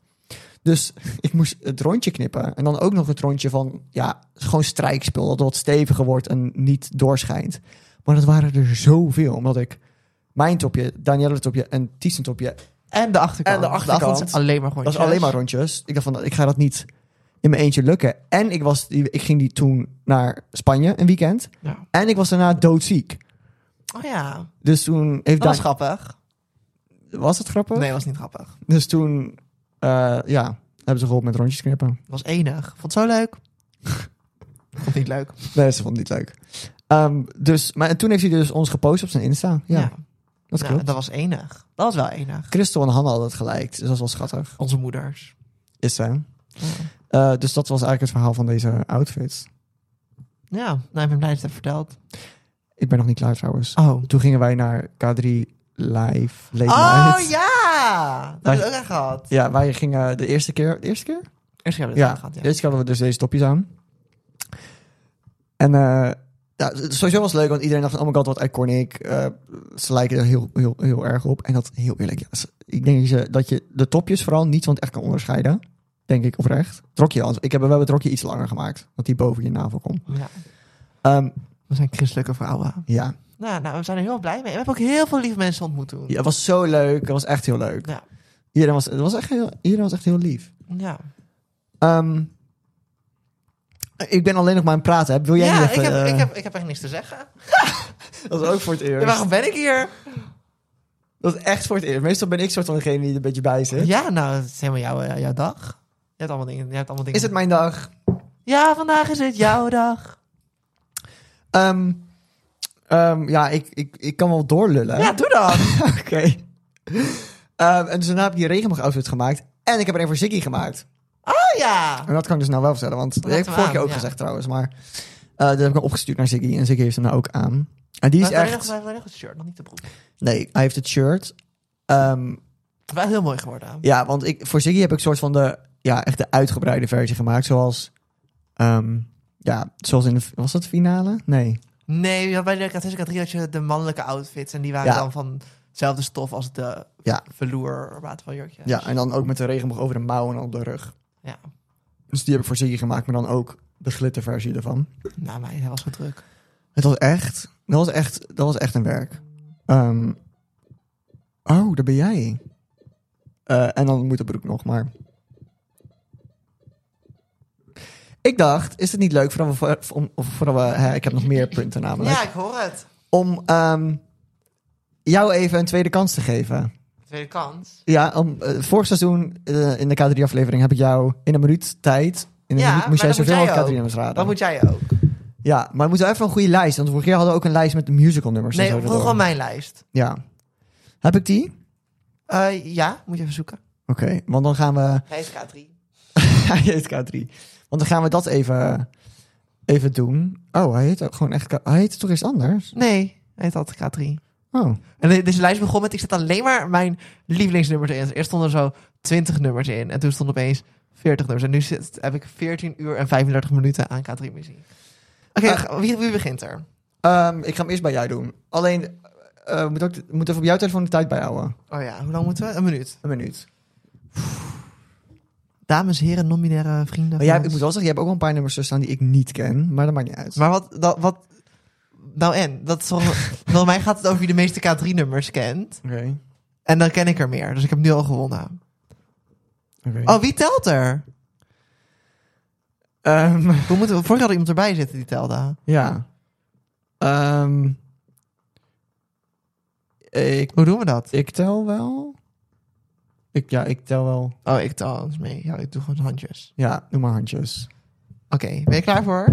Dus ik moest het rondje knippen. En dan ook nog het rondje van, ja, gewoon strijkspul. Dat wat steviger wordt en niet doorschijnt. Maar dat waren er zoveel. Omdat ik mijn topje, Danielle topje en Ties topje... En de achterkant. En de achterkant. zijn alleen maar rondjes. Dat is alleen maar rondjes. Ik dacht van, ik ga dat niet in mijn eentje lukken. En ik, was, die- ik ging die toen naar Spanje een weekend. Ja. En ik was daarna doodziek. Oh ja, Dus toen heeft dat was Dan- grappig. Was het grappig? Nee, dat was niet grappig. Dus toen, eh, ja, hebben ze geholpen met rondjes knippen. Dat was enig. Vond het zo leuk. Vond het niet leuk. Nee, ze vonden het niet leuk. Ehm, dus, maar en toen heeft hij dus ons gepost op zijn Insta. Ja, dat Ja, klopt. dat was enig. Dat was wel enig. Christel en Hanna hadden het gelijk, dus dat was wel schattig. Onze moeders. Is zij. Ja, Eh, dus dat was eigenlijk het verhaal van deze outfits. ja nou, ik ben blij dat je het hebt verteld. Ik ben nog niet klaar trouwens. Oh. Toen gingen wij naar K3 Live, late Oh night. ja! Dat hebben we ook aan gehad. Ja, wij gingen de eerste keer... De eerste keer? Eerst hebben we Ja, het aan gehad, ja. eerst hadden we dus deze topjes aan. En eh, ja, het- sowieso was het leuk, want iedereen dacht van, oh my god, wat iconic. Eh, ze lijken er heel, heel, heel erg op. En dat, heel eerlijk, ja, ze- ik denk dat je- dat je de topjes vooral niet van het echt kan onderscheiden. Denk ik, oprecht. Het rokje, anders- ik heb wel het rokje iets langer gemaakt. Dat die boven je navel komt. Ja. Ehm, We zijn christelijke vrouwen. ja. Nou, nou, we zijn er heel blij mee. We hebben ook heel veel lieve mensen ontmoet toen. ja, het was zo leuk. Het was echt heel leuk. Ja. Iedereen, was, het was echt heel, iedereen was echt heel lief. Ja. Ehm, ik ben alleen nog maar aan het praten. Hè. Wil jij ja, niet ik, even... heb, eh, ik, heb, ik heb echt niks te zeggen. Dat is ook voor het eerst. Ja, waarom ben ik hier? Dat is echt voor het eerst. Meestal ben ik soort van degene die er een beetje bij zit. Ja, nou, het is helemaal jouw, eh, jouw dag. Je hebt allemaal dingen. Je hebt allemaal dingen. Is het mijn dag? Ja, vandaag is het jouw dag. Ehm, ehm, ja, ik, ik, ik kan wel doorlullen. Ja, doe dan. Oké. Ehm, en dus daarna heb ik die regenboogoutfit gemaakt. En ik heb er een voor Ziggy gemaakt. Oh ja. En dat kan ik dus nou wel vertellen. Want dat laten heb ik we vorige keer aan, ook ja. gezegd trouwens. Maar eh dat heb ik hem opgestuurd naar Ziggy. En Ziggy heeft hem nou ook aan. En die is Maar alleen echt... nog- maar alleen nog het shirt, nog niet de broek. Nee, hij heeft het shirt. Ehm, Wel heel mooi geworden. ja, want ik, voor Ziggy heb ik soort van de... Ja, echt de uitgebreide versie gemaakt. Zoals... ehm, ja, zoals in de... Was dat finale? Nee. Nee, ja, bij de K3 had je de mannelijke outfits. En die waren Ja. dan van Zelfde stof als de Ja. veloer watervaljurkje. Ja, en dan ook met de regenboog over de mouw en op de rug. ja. Dus die heb ik voor Ziggy gemaakt, maar dan ook de glitterversie ervan. Nou, maar hij was zo druk. Het was echt, dat was echt, dat was echt een werk. Ehm, oh, daar ben jij. Eh, en dan moet de broek nog, maar. Ik dacht, is het niet leuk voordat we, voor- om- of voordat we hè, ik heb nog meer punten namelijk, Ja, ik hoor het. om ehm, jou even een tweede kans te geven. Tweede kans. Ja, om, eh, vorig seizoen eh, in de K3-aflevering heb ik jou in een minuut tijd. In een Ja, minuut maar moest jij dan moet zoveel jij als ook. K3-nummers raden. Dan moet jij ook. Ja, maar we moeten even een goede lijst. Want vorige keer hadden we ook een lijst met musical-nummers. en Nee, zo vroeg erdoor. gewoon mijn lijst. Ja. Heb ik die? Eh, ja, moet je even zoeken. Oké, want dan gaan we... Hij is K3. hij heet K3. Want dan gaan we dat even, even doen. Oh, hij heet ook gewoon echt... K- Hij heet toch iets anders? Nee, hij heet altijd K3. Oh. En de- deze lijst begon met, ik zet alleen maar mijn lievelingsnummers in. Eerst stonden er zo 20 nummers in. En toen stonden opeens 40 nummers. En nu zit, heb ik 14 uur en 35 minuten aan K3 muziek. Oké, Eh, ga- wie, wie begint er? Ehm, ik ga hem eerst bij jou doen. Alleen, eh moet, ook, moet even op jouw telefoon de tijd bijhouden. Oh ja, hoe lang moeten we? Een minuut. Een minuut. Dames, heren, non-binaire vrienden. Maar jij, van Oh ik moet ons. wel zeggen, je hebt ook wel een paar nummers tussen staan die ik niet ken. Maar dat maakt niet uit. Maar wat, dat, wat... Nou en, dat is toch... Volgens mij gaat het over wie de meeste K3-nummers kent. Oké. En dan ken ik er meer. Dus ik heb nu al gewonnen. Oké. Oh, wie telt er? Ehm, We moeten, vorig jaar had iemand erbij zitten die telde. ja. Ehm, ik Hoe doen we dat? Ik tel wel. Ik, ja, ik tel wel. Oh, ik tel alles mee. Ja, ik doe gewoon handjes. Ja, doe maar handjes. Oké, ben je klaar voor?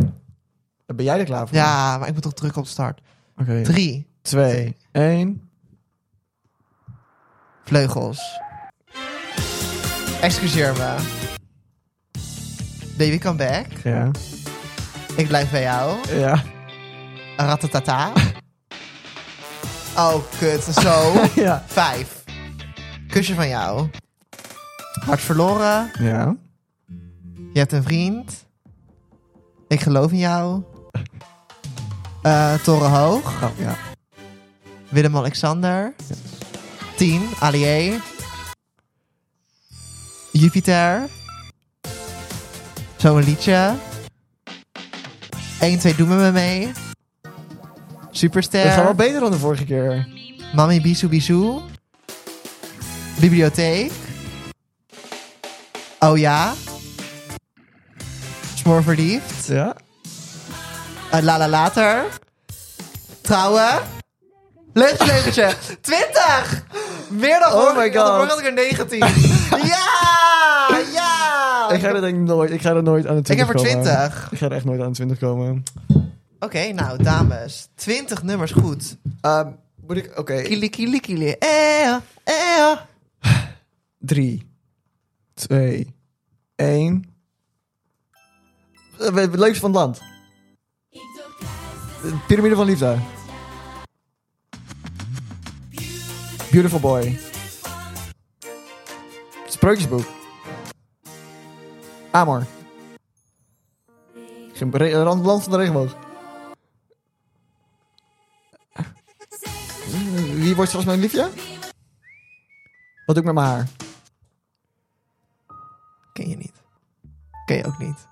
Ben jij er klaar voor? Ja, maar ik moet toch druk op start. Oké. Drie, twee, één. vleugels. Excuseer me. Baby, come back. Ja. Ik blijf bij jou. Ja. Ratatata. Oh, kut. Zo. Ja. Vijf. Kusje van jou. Hart verloren. Ja. Je hebt een vriend. Ik geloof in jou. Eh Toren Hoog. Oh, ja. Willem-Alexander. 10. Allier. Jupiter. Zo'n liedje. 1, 2, doen we me mee. Dat gaat wel Superster. beter dan de vorige keer. Mami Bisou Bisou. Bibliotheek. Oh ja. Smoor verliefd. Ja. Eh, la la later. Trouwen. Leugentje, leugentje. 20! Meer dan Oh vorige my keer, God. want vorige had ik er 19. ja! Ja! Ik ga er Oké, denk ik nooit, ik ga er nooit aan de 20 heb er komen. 20. Ik ga er echt nooit aan de 20 komen. nou dames. 20 nummers goed. Ehm, moet ik, oké. Kili, kili, kili. Eh, eh. Drie, twee, één. Eh, Het leukste van het land. De Pyramide van Liefde. Beautiful Boy. Sprookjesboek. Amor. Geen re- eh, Rand Land van de Regenboog. Wie wordt straks mijn liefje? Wat doe ik met mijn haar? Ken je niet. Ken je ook niet.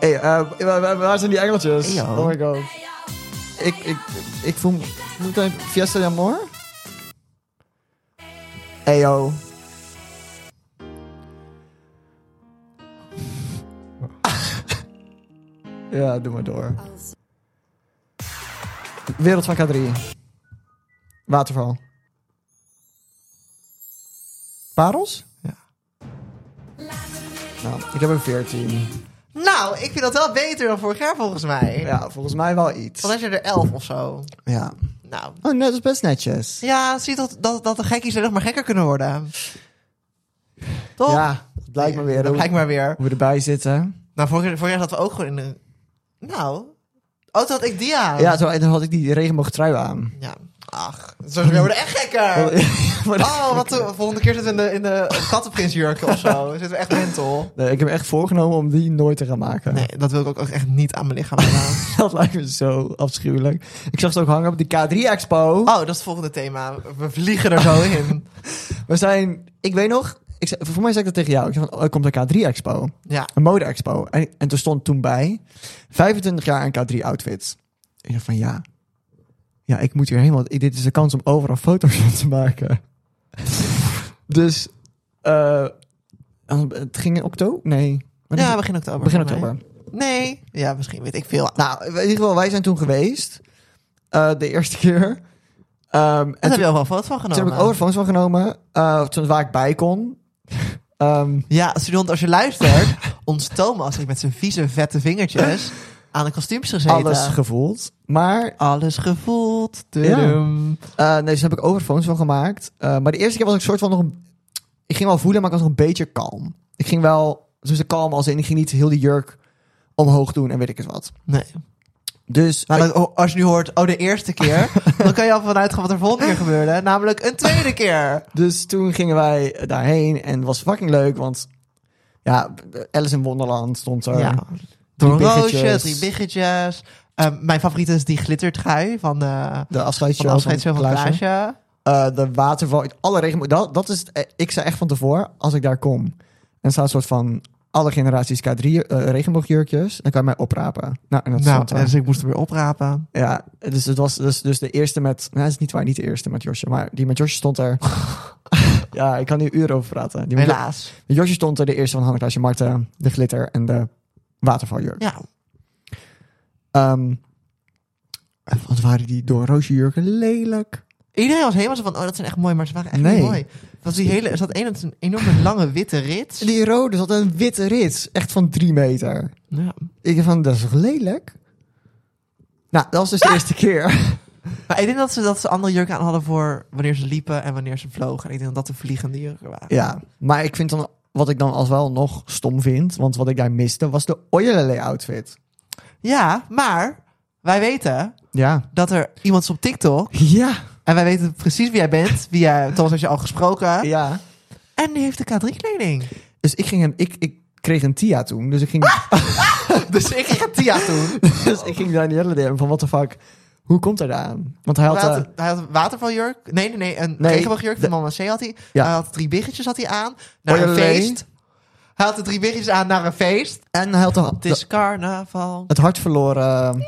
Hey, eh, waar- waar- waar zijn die engeltjes? Hey, joh. oh my god. Ik, ik, ik voel me... Moet ik Fiesta de Amor? Hey, yo. ja, doe maar door. Wereld van K3. Waterval. Parels? Ja. Nou, ik heb een 14. Nou, ik vind dat wel beter dan vorig jaar volgens mij. Ja, volgens mij wel iets. Volgens mij zijn er 11 of zo. Ja. Nou. Oh, net is best netjes. Ja, zie je dat, dat, dat de gekkies nog maar gekker kunnen worden. Toch? Ja, dat blijkt maar weer Oh. Dat hoe, blijkt maar weer. hoe we erbij zitten. Nou, vorig jaar, vorig jaar zaten we ook gewoon in de... Nou. Oh, toen had ik die aan. Ja, zo, en dan had ik die regenboogtrui aan. Ja. Ach, zo we worden echt gekker. Oh, wat de volgende keer zitten we in de, in de kattenprinsjurken of zo. Dan zitten we echt mental. Nee, ik heb me echt voorgenomen om die nooit te gaan maken. Nee, dat wil ik ook echt niet aan mijn lichaam gaan. Dat lijkt me zo afschuwelijk. Ik zag ze ook hangen op de K3-expo. Oh, dat is het volgende thema. We vliegen er zo in. We zijn, ik weet nog, ik zei, voor mij zei ik dat tegen jou. Ik zei van, oh, er komt een K3-expo, Ja, een mode-expo. En, en er stond toen bij, 25 jaar aan K3-outfits. Ik dacht van, ja, ja, ik moet hier heen, want dit is de kans om overal foto's van te maken. dus, eh, het ging in oktober? Nee. Wanneer ja ging- begin oktober. begin voor mij. oktober. Nee. Ja, misschien weet ik veel. Nou, Nou, in ieder geval, wij zijn toen geweest, eh, de eerste keer. Ehm, en daar heb toen, je al wel foto's van toen genomen. heb ik overfoons van genomen, eh, toen waar ik bij kon. Ehm, Ja, student, als je luistert, ons Thomas heeft met zijn vieze, vette vingertjes aan de kostuums gezeten. alles gevoeld. Maar Alles gevoeld. Ja. Tudum. eh, nee, dus daar heb ik overphones van gemaakt. Eh, maar de eerste keer was ik soort van nog een... Ik ging wel voelen, maar ik was nog een beetje kalm. Ik ging wel... Dus kalm als in, ik ging niet heel die jurk omhoog doen en weet ik het wat. Nee. Dus... Nou, dan- oh, als je nu hoort, oh, de eerste keer, dan kan je al vanuit gaan wat er volgende keer gebeurde. Namelijk een tweede keer. Nou, Dus toen gingen wij daarheen en het was fucking leuk, want... Ja, Alice in Wonderland stond er. Ja. Door een Oh, biggetjes. roosje, drie biggetjes. Ehm, mijn favoriet is die glittertrui van de, De van de afscheidsshow van, afscheidsshow van Klaasje. Klaasje. Eh, de waterval, alle regen. Dat, dat is, het, eh, ik zei echt van tevoren, als ik daar kom, en er staat een soort van alle generaties K3 eh, regenboogjurkjes, dan kan je mij oprapen. Nou, en dat Nou, stond er. dus ik moest hem weer oprapen. Ja, dus het was dus, dus de eerste met, nou, dat is niet waar, niet de eerste met Josje, maar die met Josje stond er. ja, ik kan nu uren over praten. Die met- Helaas. met Josje stond er, de eerste van Hanne-Klaasje Marten, de glitter en de watervaljurk. Ja, Ehm, wat waren die door roosje jurken lelijk? Iedereen was helemaal zo van, oh, dat zijn echt mooi, maar ze waren echt Nee. niet mooi. Het Was die hele, er zat een, een enorme lange witte rits. Die rode zat een witte rits, echt van drie meter. Ja. Ik dacht van, dat is toch lelijk? Nou, dat was dus de eerste keer. Maar ik denk dat ze, dat ze andere jurken aan hadden voor wanneer ze liepen en wanneer ze vlogen. En ik denk dat dat de vliegende jurken waren. Ja, maar ik vind dan, wat ik dan als wel nog stom vind, want wat ik daar miste, was de Ojerlele outfit. Ja, maar wij weten Ja. dat er iemand is op TikTok. Ja. En wij weten precies wie jij bent. Wie jij, Thomas heeft je al gesproken. Ja. En die heeft de K3-kleding. Dus ik ging hem, ik, ik kreeg een Tia toen, dus ik ging, Dus ik ging Tia toen. dus ik ging Danielle DM van, what the fuck, hoe komt hij daar aan? Want hij had, Hij had, eh, hij had een watervaljurk. Nee, nee, nee. Een Nee, regenboogjurk van de- Mama C had hij. Ja. Hij had drie biggetjes had hij aan. Naar een Ojelele. feest. Hij had de drie biggetjes aan naar een feest. en eh, hij had Het de- is carnaval. het hart verloren,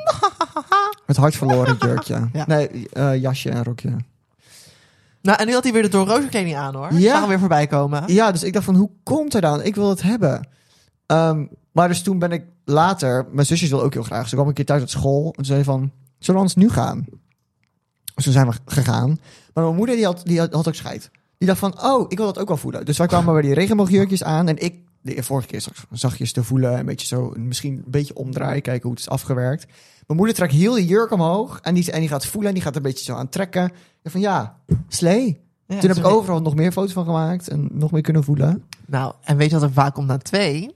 het hart verloren jurkje. Ja. Nee, eh, jasje en rokje. Nou, en nu had hij weer de doorroze kleding aan hoor. Ik Ja. zag hem weer voorbij komen. Ja, dus ik dacht van, hoe komt hij dan? Ik wil het hebben. Ehm, maar dus toen ben ik later... Mijn zusjes wilden ook heel graag. Ze kwam een keer thuis uit school. En toen zei van, zullen we anders nu gaan? Dus toen zijn we gegaan. Maar mijn moeder die had, die had, had ook scheid. Die dacht van, oh, ik wil dat ook wel voelen. Dus wij kwamen bij die regenboogjurkjes aan. En ik, de vorige keer zag, zachtjes te voelen. Een beetje zo, misschien een beetje omdraaien. Kijken hoe het is afgewerkt. Mijn moeder trekt heel die jurk omhoog. En die, en die gaat voelen. En die gaat er een beetje zo aan trekken. En van, ja, slee. Ja, Toen heb ik sorry. overal nog meer foto's van gemaakt en nog meer kunnen voelen. Nou, en weet je wat er vaak komt na twee?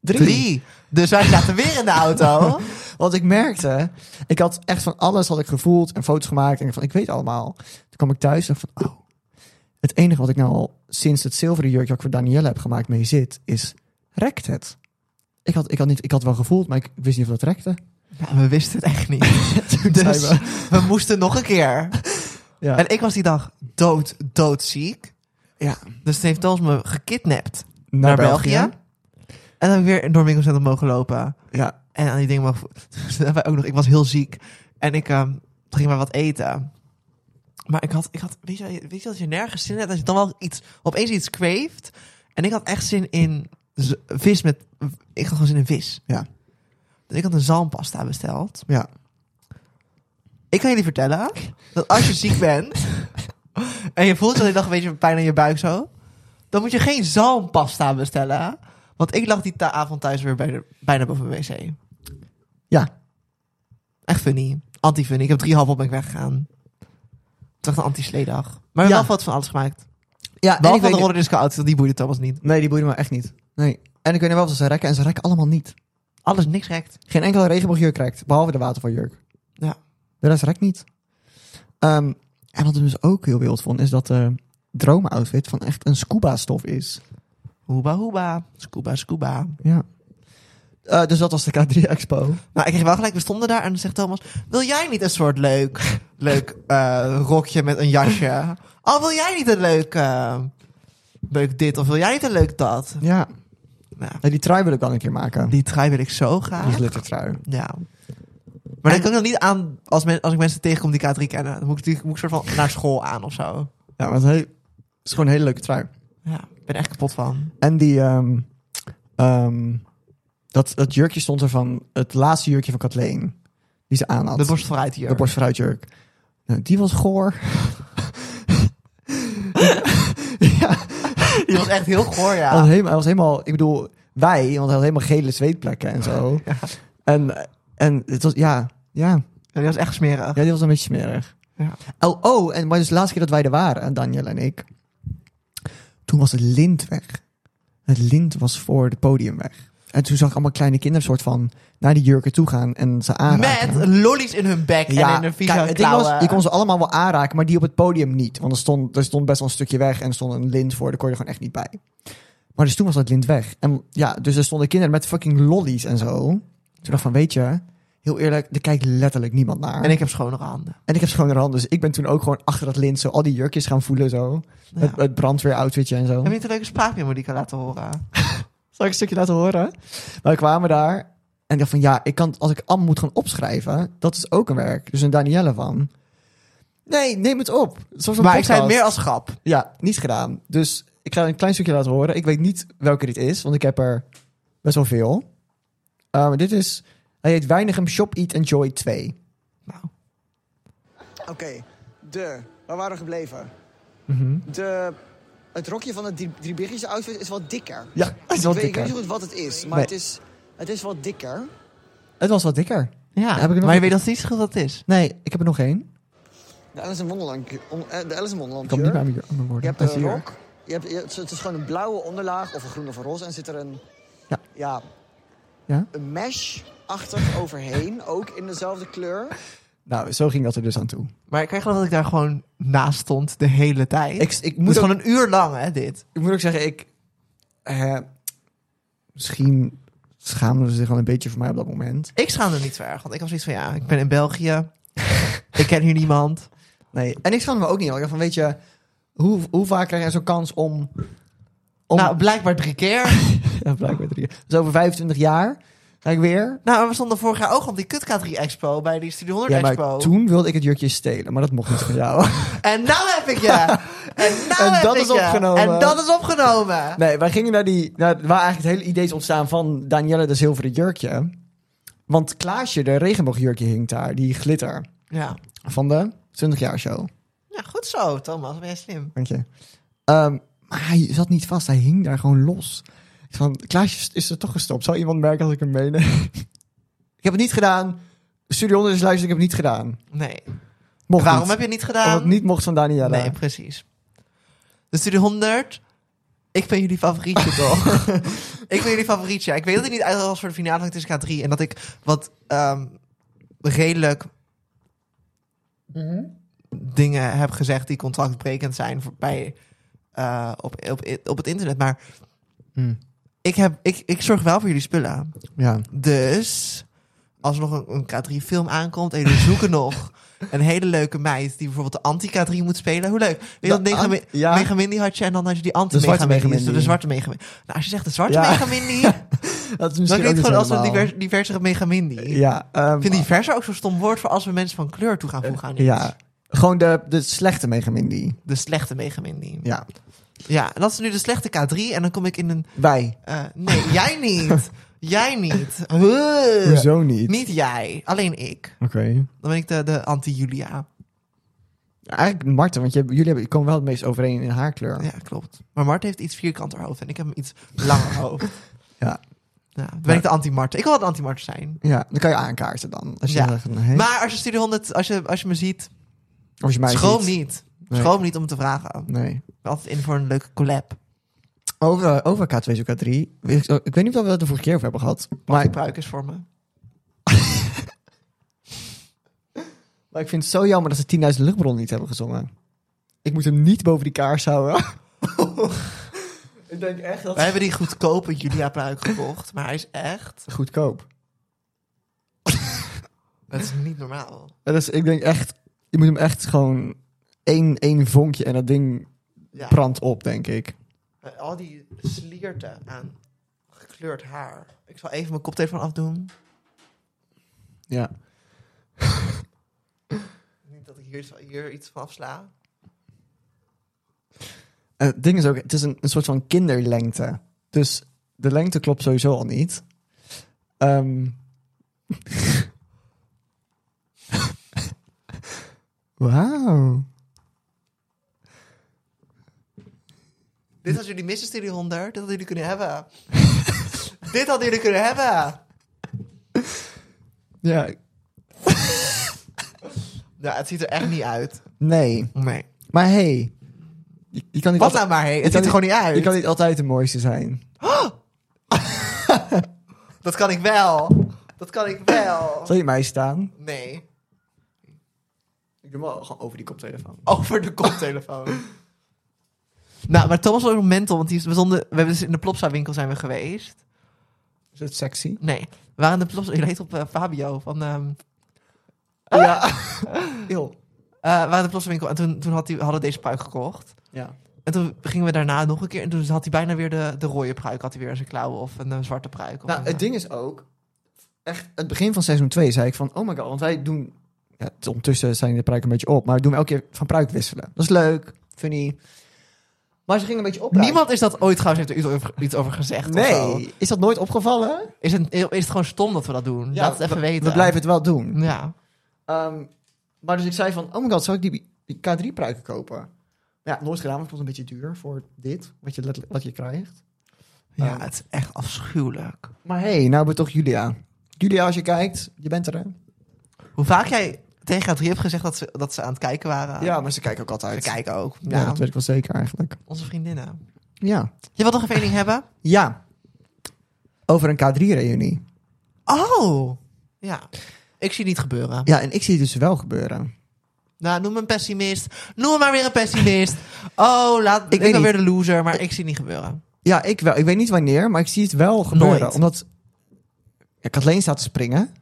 Dus wij zaten weer in de auto. Want ik merkte, ik had echt van alles had ik gevoeld en foto's gemaakt. En ik van, ik weet allemaal. Toen kwam ik thuis en van, oh. Het enige wat ik nou al sinds het zilveren jurkje wat ik voor Danielle heb gemaakt mee zit, is rekt het. Ik had, ik had, niet, ik had wel gevoeld, maar ik wist niet of dat rekte. Nou, we wisten het echt niet. Toen Dus zijn we- we moesten nog een keer. ja. En ik was die dag dood, doodziek. Ja. Dus toen heeft Thomas me gekidnapt naar, naar, België. En dan heb ik weer door Winkel Center mogen lopen. Ja. En aan die dingen mogen... Toen hebben wij ook nog... Ik was heel ziek. En ik ehm, toen ging maar wat eten. Maar ik had... Ik had weet, je, weet je dat je nergens zin in hebt? Als je dan wel iets... Opeens iets craved. En ik had echt zin in z- vis met... Ik had gewoon zin in vis. Ja. Dus ik had een zalmpasta besteld. Ja. Ik kan jullie vertellen dat als je ziek bent en je voelt zo die dag een beetje pijn aan je buik zo, dan moet je geen zalmpasta bestellen. Want ik lag die ta- avond thuis weer bijna, bijna boven mijn wc. Ja. Echt funny. Anti-funny. Ik heb drie half op ben ik weggegaan. Het was echt een anti-sleedag. Maar we hebben Ja. wel foto's van alles gemaakt. Ja, en Behalve ik van de weet, roller disco auto, die boeide Thomas niet. nee, die boeide me echt niet. Nee. En ik weet niet wel of ze rekken en ze rekken allemaal niet. Alles niks rekt. Geen enkele regenboogjurk rekt, behalve de watervaljurk. Ja. De rest rekt niet. Ehm, en wat ik dus ook heel wild vond, is dat de droomoutfit van echt een scuba-stof is. Hoeba, hoeba. Scuba, scuba. Ja. Eh, dus dat was de K3 Expo. Nou, ik kreeg wel gelijk, we stonden daar en dan zegt Thomas... Wil jij niet een soort leuk, leuk eh, rokje met een jasje? Oh, wil jij niet een leuk, eh, leuk dit of wil jij niet een leuk dat? Ja. Nou, die trui wil ik wel een keer maken. Die, die trui wil ik zo graag. die glittertrui. Ja. Maar dat kan ik nog niet aan als, men, als ik mensen tegenkom die K3 kennen. Dan moet ik, die, moet ik soort van naar school aan of zo. Ja, maar het is heel- het is gewoon een hele leuke trui. Ja, ik ben echt kapot van. En die, ehm, ehm, dat, dat jurkje stond er van het laatste jurkje van Kathleen. Die ze aan had. De borst vooruit hier. De borstvooruitjurk. Nou, die was goor. ja, Die was echt heel goor, hij, was ja. helemaal, hij was helemaal, ik bedoel, wij, want hij had helemaal gele zweetplekken en zo. En, en het was, ja, ja, Die was echt smerig. ja, die was een beetje smerig. Ja. Oh, oh, en maar dus de laatste keer dat wij er waren, Daniel en ik, toen was het lint weg. Het lint was voor het podium weg. En toen zag ik allemaal kleine kinderen soort van naar die jurken toe gaan en ze aanraken. Met lollies in hun bek en in hun vieze kijk, het ding klauwen. was, je kon ze allemaal wel aanraken, maar die op het podium niet. Want er stond, er stond best wel een stukje weg en er stond een lint voor, daar kon je er gewoon echt niet bij. Maar dus toen was dat lint weg. En ja, dus er stonden kinderen met fucking lollies en zo. Toen dacht ik van, weet je, heel eerlijk, er kijkt letterlijk niemand naar. En ik heb schonere handen. En ik heb schone handen, dus ik ben toen ook gewoon achter dat lint zo al die jurkjes gaan voelen zo. Ja. Het, het brandweeroutfitje en zo. Heb je niet een leuke spraaknummer die ik kan laten horen? Zal ik een stukje laten horen? Maar we kwamen daar en ik dacht van ja, ik kan, als ik Am moet gaan opschrijven, dat is ook een werk. Dus een Danielle van. Nee, neem het op. Zoals een Maar ik zei het podcast. meer als grap. Ja, niet gedaan. Dus ik ga een klein stukje laten horen. Ik weet niet welke dit is, want ik heb er best wel veel. Eh, maar dit is, hij heet Weinigem Shop Eat Enjoy 2. Nou, Oké, de. Waar waren we gebleven? Mhm. De. Het rokje van het drie- driebiggetjes outfit is wat dikker. Ja, het is ik wat weet, Ik weet dikker. niet goed wat het is, maar Nee. het, is, het is wat dikker. Het was wat dikker. ja. Heb ik er nog maar je een- weet dat het niet schuld dat het is. Nee, ik heb er nog één. De Alice in Wonderland. on- eh, De Alice in Wonderland. Ik kan hem niet bij mijn jurk. aan mijn woorden. Je hebt Hij is een hier. rok. Je hebt, je- het is- het is gewoon een blauwe onderlaag of een groene of een roze. En zit er een. Ja. ja Ja? een mesh achter overheen. Ook in dezelfde kleur. Nou, zo ging dat er dus aan toe. Maar ik kan je geloven dat ik daar gewoon naast stond de hele tijd. Ik, ik het moet is ook gewoon een uur lang, hè, dit. ik moet ook zeggen, ik. eh, misschien schaamden ze zich wel een beetje voor mij op dat moment. Ik schaamde me niet zo erg, want ik was zoiets van, ja, ik ben in België. ik ken hier niemand. Nee. En ik schaamde me ook niet. want Ik dacht van, weet je, hoe, hoe vaak krijg je zo'n kans om. om Nou, blijkbaar drie keer. ja, blijkbaar drie keer. Dus over 25 jaar ga ik weer. nou, en we stonden vorig jaar ook op die Kut K3 Expo, bij die Studio 100 Ja, maar Expo. toen wilde ik het jurkje stelen, maar dat mocht niet van jou. En nou heb ik je! En, nou En heb dat ik is je. opgenomen. En dat is opgenomen. Nee, wij gingen naar die. Naar, waar eigenlijk het hele idee is ontstaan van Danielle de Zilveren Jurkje. Want Klaasje, de regenboogjurkje, hing daar. Die glitter Ja. van de 20 jaar show. ja, goed zo, Thomas. Ben je slim? Dank je. Ehm, maar hij zat niet vast. Hij hing daar gewoon los. Ik Van, Klaasje is er toch gestopt. Zou iemand merken als ik hem meeneem? ik heb het niet gedaan. Studio 100 is luisteren. Ik heb het niet gedaan. Nee. Mocht Waarom niet. heb je het niet Omdat gedaan? het niet mocht van Daniela. nee, precies. Dus De Studio 100. Ik ben jullie favorietje toch? ik ben jullie favorietje. Ik weet dat ik niet uit was voor de finale van tussen K3. En dat ik wat ehm, redelijk dingen heb gezegd die contractbrekend zijn voor, bij, eh, op, op, op het internet. Maar Hm. ik, heb, ik, ik zorg wel voor jullie spullen. Ja. Dus als er nog een, een K3-film aankomt en jullie zoeken nog een hele leuke meid die bijvoorbeeld de anti-K3 moet spelen, hoe leuk. Weet je dat De Mega, an- Mi- ah, ja. Mega Mindy had je en dan had je die zwarte anti-Mega Mindy, Mega dus de, Mindy. zwarte Mega Mindy. Nou, als je zegt de zwarte Ja. Mega Mindy, Dat is dan misschien klinkt ook het niet gewoon als een helemaal. divers, diversere Mega Mindy. Ja. ehm, Ik vind diverser ook zo'n stom woord voor als we mensen van kleur toe gaan voegen aan iets. Eh, ja. Gewoon de, de slechte Megamindy. De slechte Mega Mindy. Ja. Ja. en dat is nu de slechte K3 en dan kom ik in een... Wij. eh, nee, jij niet. jij niet. Huh. Hoezo niet? Eh, Niet jij, alleen ik. Oké. Dan ben ik de, de anti-Julia. Eigenlijk Marten, want je, hebt- jullie hebben, komen wel het meest overeen in haar kleur. Ja, klopt. Maar Mart heeft iets vierkanter hoofd en ik heb een iets langer hoofd. Ja. Ja, dan ben ik de anti-Mart. Ik wil wel de anti-Mart zijn. Ja, dan kan je aankaarten dan. Als je, Ja. zegt, hey, Maar als je Studio 100, als je, als je me ziet, als je mij schroom ziet. niet. Nee. Schroom niet om te vragen. Ik Nee. ben altijd in voor een leuke collab. Over, over K2 zo K3. Ik, ik weet niet of we het de vorige keer over hebben gehad. Maar Gebruik is voor me. Maar ik vind het zo jammer dat ze 10.000 luchtbronnen niet hebben gezongen. Ik moet hem niet boven die kaars houden. ik denk echt dat... Wij hebben die goedkope Julia pruik gekocht, maar hij is echt... Goedkoop. Het is niet normaal. En Dus ik denk echt... Je moet hem echt gewoon... één, één vonkje en dat ding Ja. brandt op, denk ik. Met Al die slierten aan gekleurd haar. Ik zal even mijn koptelefoon afdoen. Ja. Niet dat ik hier, iets- hier iets van afsla. En het Eh, ding is ook... Het is een, een soort van kinderlengte. Dus de lengte klopt sowieso al niet. Ehm. Wauw. Dit was jullie mystery 100. Dit hadden jullie kunnen hebben. Dit hadden jullie kunnen hebben. Ja. Ja, Nou, het ziet er echt niet uit. Nee. Nee. Maar hey, je, je kan niet Wat altijd, nou maar, hé. je Het kan ziet er gewoon niet uit. je kan niet altijd de mooiste zijn. Dat kan ik wel. Dat kan ik wel. Zal je mij staan? Nee. Ik doe wel gewoon over die koptelefoon. Over de koptelefoon. nou, maar Thomas was ook mental, want die is- we, stonden, we hebben dus in de Plopsa winkel zijn we geweest. Is het sexy? Nee, we waren in de Plopsa... Je heet op eh, Fabio van... ehm, Ja. Heel. eh, we waren in de Plopsa winkel en toen, toen had die, hadden we deze pruik gekocht. Ja. En toen gingen we daarna nog een keer... En toen had hij bijna weer de, de rode pruik, had hij weer in zijn klauwen. Of een eh, zwarte pruik. of Nou, een, het eh, ding is ook, echt, het begin van seizoen 2 zei ik van, oh my god, want wij doen, ja, het- ondertussen zijn de pruiken een beetje op, maar we doen elke keer van pruik wisselen. Dat is leuk, funny. Maar ze gingen een beetje op. Niemand is dat ooit trouwens, heeft er iets over, iets over gezegd of zo. Nee, is dat nooit opgevallen? Is het, is het gewoon stom dat we dat doen? Laat het even we, weten. We blijven het wel doen. Ja. Ehm, maar dus ik zei van, oh my god, zou ik die, die K3-pruiken kopen? Ja, nooit gedaan, want het was een beetje duur voor dit, wat je, letterlijk- wat je krijgt. ja, Ehm. het is echt afschuwelijk. Maar hey, nou hebben we toch Julia. Julia, als je kijkt, je bent er, hè? Hoe vaak jij tegen K3 hebt gezegd dat ze, dat ze aan het kijken waren. Ja, maar ze kijken ook altijd. Ze kijken ook. Ja, Ja, dat weet ik wel zeker eigenlijk. Onze vriendinnen. Ja. Je wilt nog even één ding hebben? Ja. Over een K3-reunie. Oh! Ja. Ik zie het niet gebeuren. Ja, en ik zie het dus wel gebeuren. Nou, noem me een pessimist. Noem me maar weer een pessimist. Oh, laat, ik, weet ben niet. weer de loser, maar ik zie het niet gebeuren. Ja, ik wel. Ik weet niet wanneer, maar ik zie het wel gebeuren. Nooit. Oh. Omdat... Ja, Kathleen staat te springen.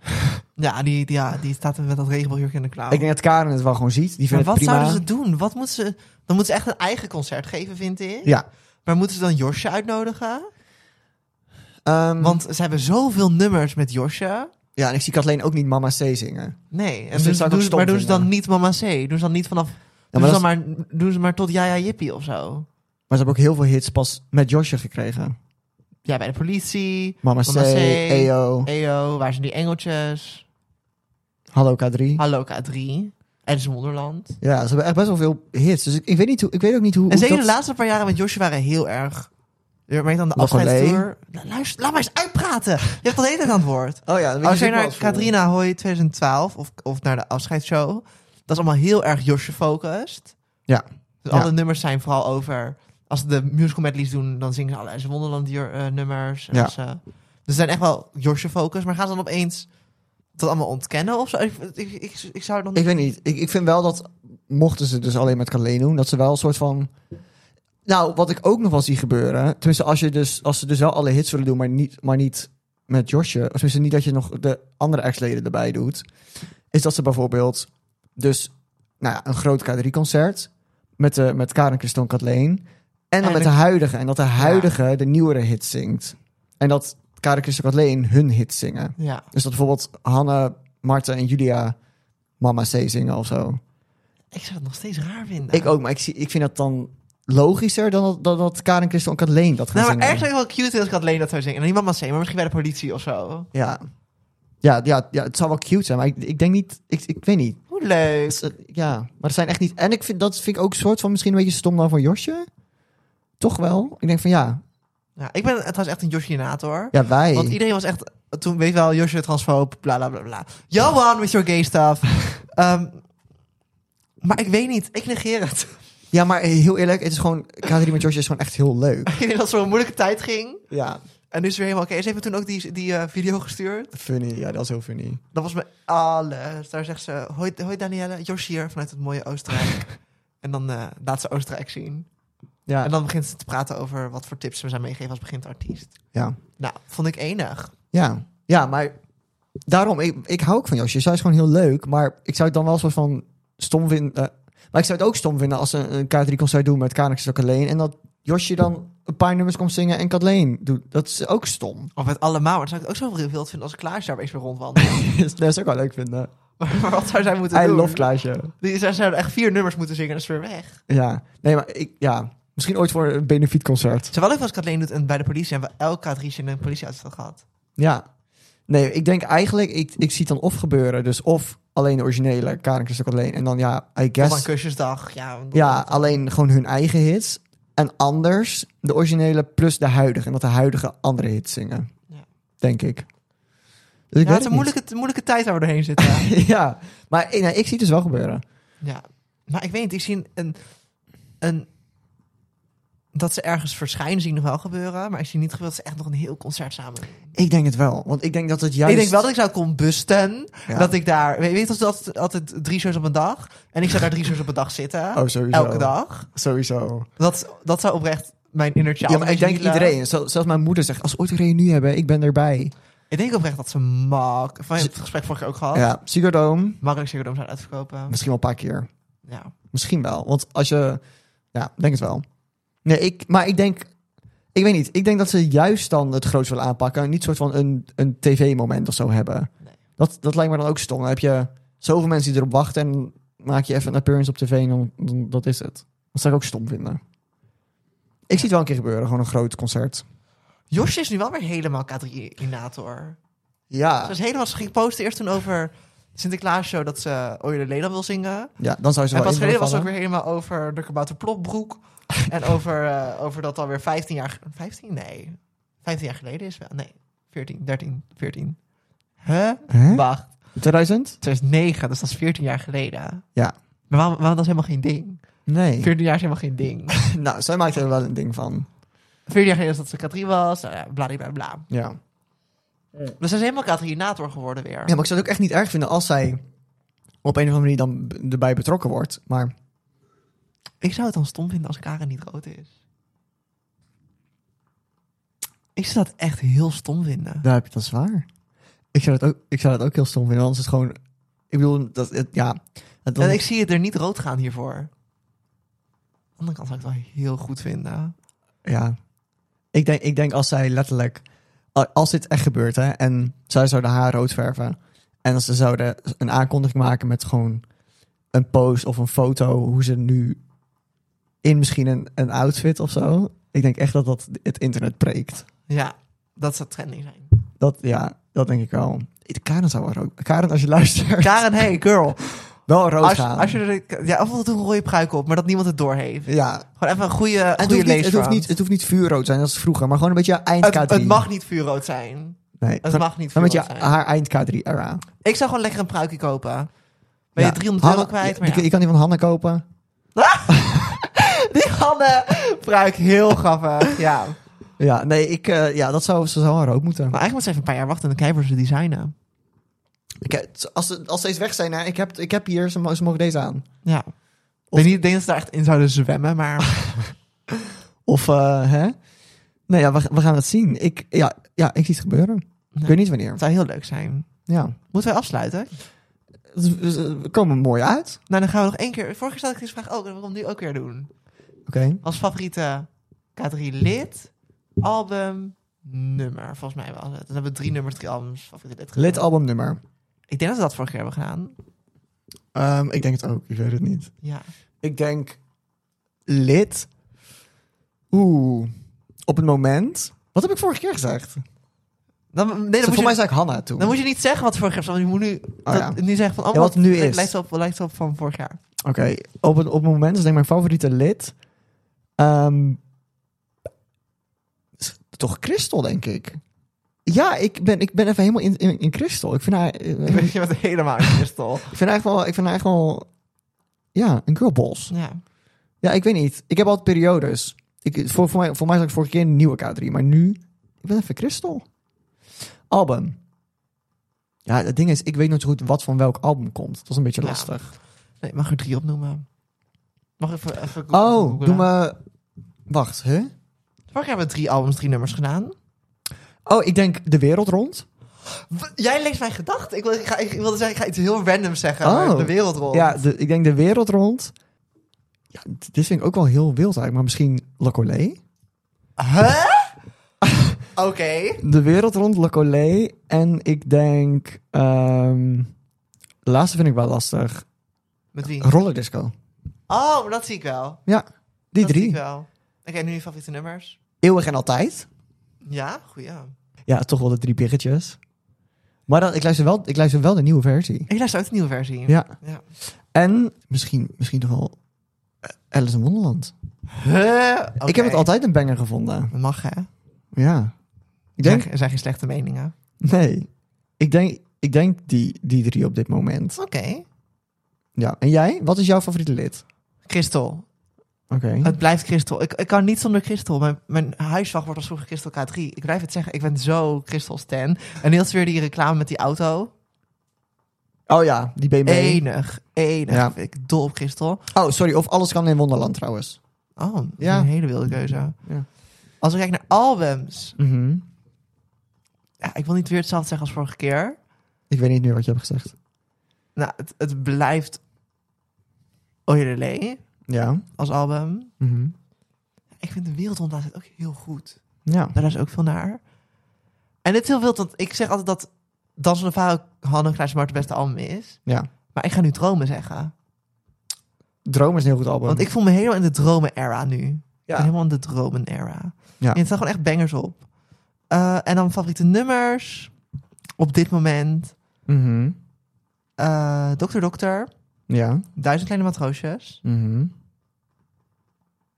Ja, die, die- ja, die staat met dat regenboogjurk in de klauw. Ik denk dat Karen het wel gewoon ziet. Die maar vindt wat het prima. zouden ze doen? Wat moeten ze... Dan moeten ze echt een eigen concert geven, vind ik. Ja. Maar moeten ze dan Josje uitnodigen? Ehm, Want ze hebben zoveel nummers met Josje. Ja, en ik zie Kathleen ook niet Mama C zingen. Nee, en dit dus zou ik doen ook ze- stom maar doen ze dan vinden. niet Mama C? Doen ze dan niet vanaf... maar doen, ze dat dan maar, doen ze maar tot Ja Ja Jippie of zo? Maar ze hebben ook heel veel hits pas met Josje gekregen. Ja, bij de politie, Mama C, Mama C, EO, EO, waar zijn die engeltjes? Hallo K3. Hallo K3, en zijn moederland. Ja, ze hebben echt best wel veel hits. Dus ik, ik weet, niet hoe, ik weet ook niet hoe... En hoe zeker de dat- laatste paar jaren met Josje waren heel erg... Je merkt aan de Lachelijk. afscheidstour... Nou, luister, laat maar eens uitpraten. Je hebt al de hele tijd aan het woord. Oh ja, dan weet Als je je ook wel naar wat voor. Katrina Hoy 2012 of, of naar de afscheidsshow, dat is allemaal heel erg Josje focused. Ja. Dus Ja. alle nummers zijn vooral over. Als ze de musical medleys doen, dan zingen ze alle Alice in Wonderland jur- eh, nummers. En Ja. als ze- dus ze zijn echt wel Josje focused, maar gaan ze dan opeens dat allemaal ontkennen of zo? Ik, ik, ik, ik zou het nog Ik weet niet. Ik, ik vind wel dat, mochten ze dus alleen met Kathleen doen, dat ze wel een soort van... Nou, wat ik ook nog wel zie gebeuren... Tenminste, als, je dus, als ze dus wel alle hits willen doen, maar niet, maar niet met Josje... Of tenminste, niet dat je nog de andere ex-leden erbij doet... Is dat ze bijvoorbeeld dus nou ja, een groot K3-concert... Met, de, met Karen, Christon, Kathleen... En dan En met de de- huidige. En dat de huidige de nieuwere hits zingt. En dat Karen, Christon, Kathleen hun hits zingen. Ja. Dus dat bijvoorbeeld Hanne, Marten en Julia Mama C zingen of zo. Ik zou het nog steeds raar vinden. Ik ook, maar ik, zie, ik vind dat dan logischer dan dat, dat, dat Karen, Christel en Kathleen dat gaan Nou, maar zingen. ergens wel cute als Kathleen dat zou zingen. En niet mama C, maar misschien bij de politie of zo. Ja. Ja, ja, ja, het zou wel cute zijn, maar ik, ik denk niet... Ik, ik weet niet. Hoe leuk. Dus, eh, ja, maar het zijn echt niet... En ik vind, dat vind ik ook soort van misschien een beetje stom dan van Josje. Toch wel? Ik denk van ja, Ja, ik ben trouwens echt een Josje-nator. ja wij. Want iedereen was echt... Toen weet je wel, Josje transfoob, bla bla bla bla. Johan with your gay stuff. Ehm, maar ik weet niet, ik negeer het. Ja, maar heel eerlijk, het is gewoon... K3 met Josje is gewoon echt heel leuk. ik weet dat zo'n moeilijke tijd ging. Ja. En nu is het weer helemaal oké. Ze heeft me toen ook die, die eh, video gestuurd. Funny, ja, dat is heel funny. Dat was me alles. Daar zegt ze, hoi, hoi Danielle, Josh hier vanuit het mooie Oostenrijk. en dan eh, laat ze Oostenrijk zien. Ja, En dan begint ze te praten over wat voor tips we zijn meegeven als begint artiest. ja. Nou, vond ik enig. Ja, ja maar daarom, ik, ik hou ook van Josje. Zij is gewoon heel leuk, maar ik zou het dan wel soort van stom vinden. eh, maar ik zou het ook stom vinden als ze een K3-concert doen met Kanix ook alleen. En dat Josje dan een paar nummers komt zingen en Kathleen doet. Dat is ook stom. Of het allemaal. Maar dan zou ik het ook zo verveeld vinden als Klaasje daar eens weer rondwandelt. dat zou ik wel leuk vinden. maar wat zou zij moeten I doen? love Klaasje. Die, zij zou echt vier nummers moeten zingen en dan is ze weer weg. Ja, nee, maar ik, ja. Misschien ooit voor een benefietconcert. Het zou wel leuk als Kathleen doet en bij de politie hebben we elk K3'tje in een politieauto gehad. Ja. Nee, ik denk eigenlijk, ik, ik zie het dan of gebeuren. Dus of alleen de originele Kanix ook alleen. En dan ja, I Yes. guess... dan kusjesdag. Ja, Ja, alleen gewoon hun eigen hits. En anders de originele plus de huidige. En dat de huidige andere hits zingen. Ja. Denk ik. Dus ik weet ja, het is het een moeilijke, moeilijke tijd waar we doorheen zitten. niet. ja, maar ik, nou, ik zie het dus wel gebeuren. ja. Maar ik weet niet, ik zie een, een... Dat ze ergens verschijnen zien nog wel gebeuren. Maar ik zie niet gebeuren dat ze echt nog een heel concert samen doen. Ik denk het wel. Want ik denk dat het juist... Ik denk wel dat ik zou kon busten. dus Ja. Dat ik daar... Weet weet je, dat altijd, altijd drie shows op een dag. En ik zou daar drie shows op een dag zitten. Oh, sowieso. elke dag. Sowieso. Dat, dat zou oprecht mijn inner child... Ja, maar ik denk Angela- iedereen. Zo- Zelfs mijn moeder zegt, als we ooit een reunie hebben, ik ben erbij. Ik denk oprecht dat ze mak... Van het gesprek vorige keer ook gehad. Ja, Ziggo Dome. Makkelijk Ziggo Dome zou uitverkopen. Misschien wel een paar keer. Ja. Misschien wel. Want als je. Ja, denk het wel. Nee, ik, maar ik denk. Ik weet niet. Ik denk dat ze juist dan het groots willen aanpakken. En niet soort van een, een tv-moment of zo hebben. Nee. Dat, dat lijkt me dan ook stom. Dan heb je zoveel mensen die erop wachten. En dan maak je even een appearance op tv. En dan, dan- dat is het. Dat zou ik ook stom vinden. Ik zie het wel een keer gebeuren. Gewoon een groot concert. Josje is nu wel weer helemaal K3-inator. Ze Ja, is helemaal... Ze ging posten eerst toen over Sinterklaasshow... dat ze Oye Lela wil zingen. ja dan zou ze En wel pas in willen geleden was het ook vallen. weer helemaal over de kabouterplopbroek. en over, eh, over dat alweer 15 jaar... ge- 15? Nee. 15 jaar geleden is wel... Nee. 14, 13, 14. Huh? Hè? Wacht. 2000? 2009, dus dat is 14 jaar geleden. Ja. Maar waarom, waarom dat is helemaal geen ding? Nee. 14 jaar is helemaal geen ding. nou, zij maakt er wel een ding van. 14 jaar geleden is dat ze K3 was. Nou ja, bla, bla, bla. Ja. Dus ze is helemaal K3-nator geworden weer. Ja, maar ik zou het ook echt niet erg vinden als zij op een of andere manier dan b- erbij betrokken wordt. Maar Ik zou het dan stom vinden als Karen niet rood is. Ik zou dat echt heel stom vinden. daar heb je dat zwaar. Ik zou dat ook, ik zou dat ook heel stom vinden, want het is gewoon... Ik bedoel, dat, het, ja... Het, dan- En ik zie het er niet rood gaan hiervoor. Aan de andere kant zou ik het wel heel goed vinden. ja. Ik, denk, ik denk als zij letterlijk... a- Als dit echt gebeurt, hè, en zij zouden haar rood verven... en als ze zouden een aankondiging maken met gewoon een post of een foto... hoe ze nu in misschien een, een outfit of zo... Ik denk echt dat dat het internet breekt. Ja, dat zou trending zijn. Dat, ja, dat denk ik wel. Karen zou wel rood... Karen, als je luistert... Karen, hey girl. wel rood Als, gaan. als je er, ja, of doe een rode pruik op, maar dat niemand het doorheeft. ja. Gewoon even een goede, Het goede hoeft, niet, het, hoeft leesfout. niet, het hoeft niet vuurrood zijn, dat is vroeger. Maar gewoon een beetje eind Het, K3. het mag niet vuurrood zijn. Nee, Het mag niet Maar met vuurrood je, zijn. haar eind K3-era. Ik zou gewoon lekker een pruikje kopen. Ben je 300 euro kwijt? Je, maar je ja. kan die van Hanna kopen. Die Hanne pruik, heel grappig. Ja. Ja, nee, ik, eh, ja, dat zou, ze zou wel rood moeten. Maar eigenlijk moet ze even een paar jaar wachten en dan kijken we ze designen. Ik, als, ze- als deze weg zijn, hè, ik, heb, ik heb hier, ze, mo- ze mogen deze aan. Ja. Ik weet niet, ik denk dat ze daar echt in zouden zwemmen, maar... Of, eh, hè? Nee, ja, we, we gaan het zien. Ik, ja, ja, ik zie het gebeuren. Ik Nee. weet niet Het wanneer. zou heel leuk zijn. Ja. Moeten wij afsluiten? Dus, dus, eh, we komen mooi uit. Nou, dan gaan we nog één keer... Vorige keer stelde ik deze vraag ook, en waarom nu ook weer doen? Oké. Als favoriete K3-lid, album, nummer. Volgens mij was het. Dan hebben we drie nummers, drie albums. Favoriete lid. Lid albumnummer. Ik denk dat we dat vorige keer hebben gedaan. Ehm, ik denk het ook, ik weet het niet. Ja. Ik denk lid. Oeh, op het moment. Wat heb ik vorige keer gezegd? Dan, nee, dan moet Voor je- mij zei ik Hanna toen. Dan moet je niet zeggen wat vorig jaar is, want je moet nu, dat- ja. nu zeggen van... Oh, Ja, wat nu lijkt- is. Lijkt op, lijkt op van vorig jaar. Oké, op, het, op het moment is denk ik mijn favoriete lid. ehm, is toch Christel, denk ik. Ja, ik ben, ik ben even helemaal in, in, in Christel. Ik vind haar, eh, Ik ik weet je wat helemaal een kristal. vind haar echt wel, ik vind haar echt wel, ja, een girlboss. Ja. Ja, ik weet niet. Ik heb altijd periodes. Ik, voor, voor, mij, voor mij zag ik vorige keer een nieuwe K3, maar nu Ik ben even Christel. Album. Ja, het ding is, ik weet nooit zo goed wat van welk album komt. Dat is een beetje Ja. lastig. Nee, mag er drie opnoemen. Mag ik even, even Oh, doe maar. maar... Wacht, hè? Vorig jaar hebben we drie albums, drie nummers gedaan. Oh, ik denk De Wereld Rond. W- Jij leest mijn gedachten. Ik, wil- ik, ga- ik wilde zeggen, ik ga iets heel random zeggen. Oh. maar De wereld rond. Ja, de- ik denk De Wereld Rond. Ja, d- dit vind ik ook wel heel wild eigenlijk, maar misschien Le Collet? Huh? Oké. De Wereld Rond, Le Collet. En ik denk... ehm, de laatste vind ik wel lastig. Met wie? Roller Disco. Oh, maar dat zie ik wel. Ja, die dat zie drie. ik wel. Oké, nu je favoriete nummers. Eeuwig en Altijd. Ja, goed ja. Ja, toch wel de drie biggetjes. Maar dan, ik, luister wel, ik luister wel de nieuwe versie. Ik luister ook de nieuwe versie. Ja. Ja. En misschien, misschien toch wel eh, Alice in Wonderland. Huh? Oké. Ik heb het altijd een banger gevonden. Dat mag hè. Ja. Ik Er denk, zijn, er zijn geen slechte meningen. nee. Ik denk, ik denk die, die drie op dit moment. Oké. Ja. En jij? Wat is jouw favoriete lid? Christel. Oké. Het blijft Christel. Ik, ik kan niet zonder Christel. Mijn, mijn huiswacht wordt als vroeger Christel K3. Ik blijf het zeggen. Ik ben zo Christel Stan. En heel weer die reclame met die auto. Oh ja, die BMW. Enig. Enig. Ja. Vind ik dol op Christel. Oh, sorry. Of Alles kan in Wonderland trouwens. Oh, dat is Ja. een hele wilde keuze. Ja. Als ik kijk naar albums. Mhm. Ja, ik wil niet weer hetzelfde zeggen als vorige keer. Ik weet niet meer wat je hebt gezegd. Nou, het, het blijft Ojerele Ja. als album. Mhm. Ik vind de wereld het ook heel goed. Ja. Daar is ook veel naar. En dit is heel wild, want ik zeg altijd dat Dans van de Vrouw Hanne Klaas Smart het beste album is. Ja. Maar ik ga nu dromen zeggen. Droom is een heel goed album. Want ik voel me helemaal in de dromen-era nu. Ik ben ja. helemaal in de dromen-era. Ja. En het staan gewoon echt bangers op. Eh, en dan favoriete nummers. Op dit moment. Mhm. eh Dokter Dokter. Ja. Duizend Kleine Matroosjes. Mhm.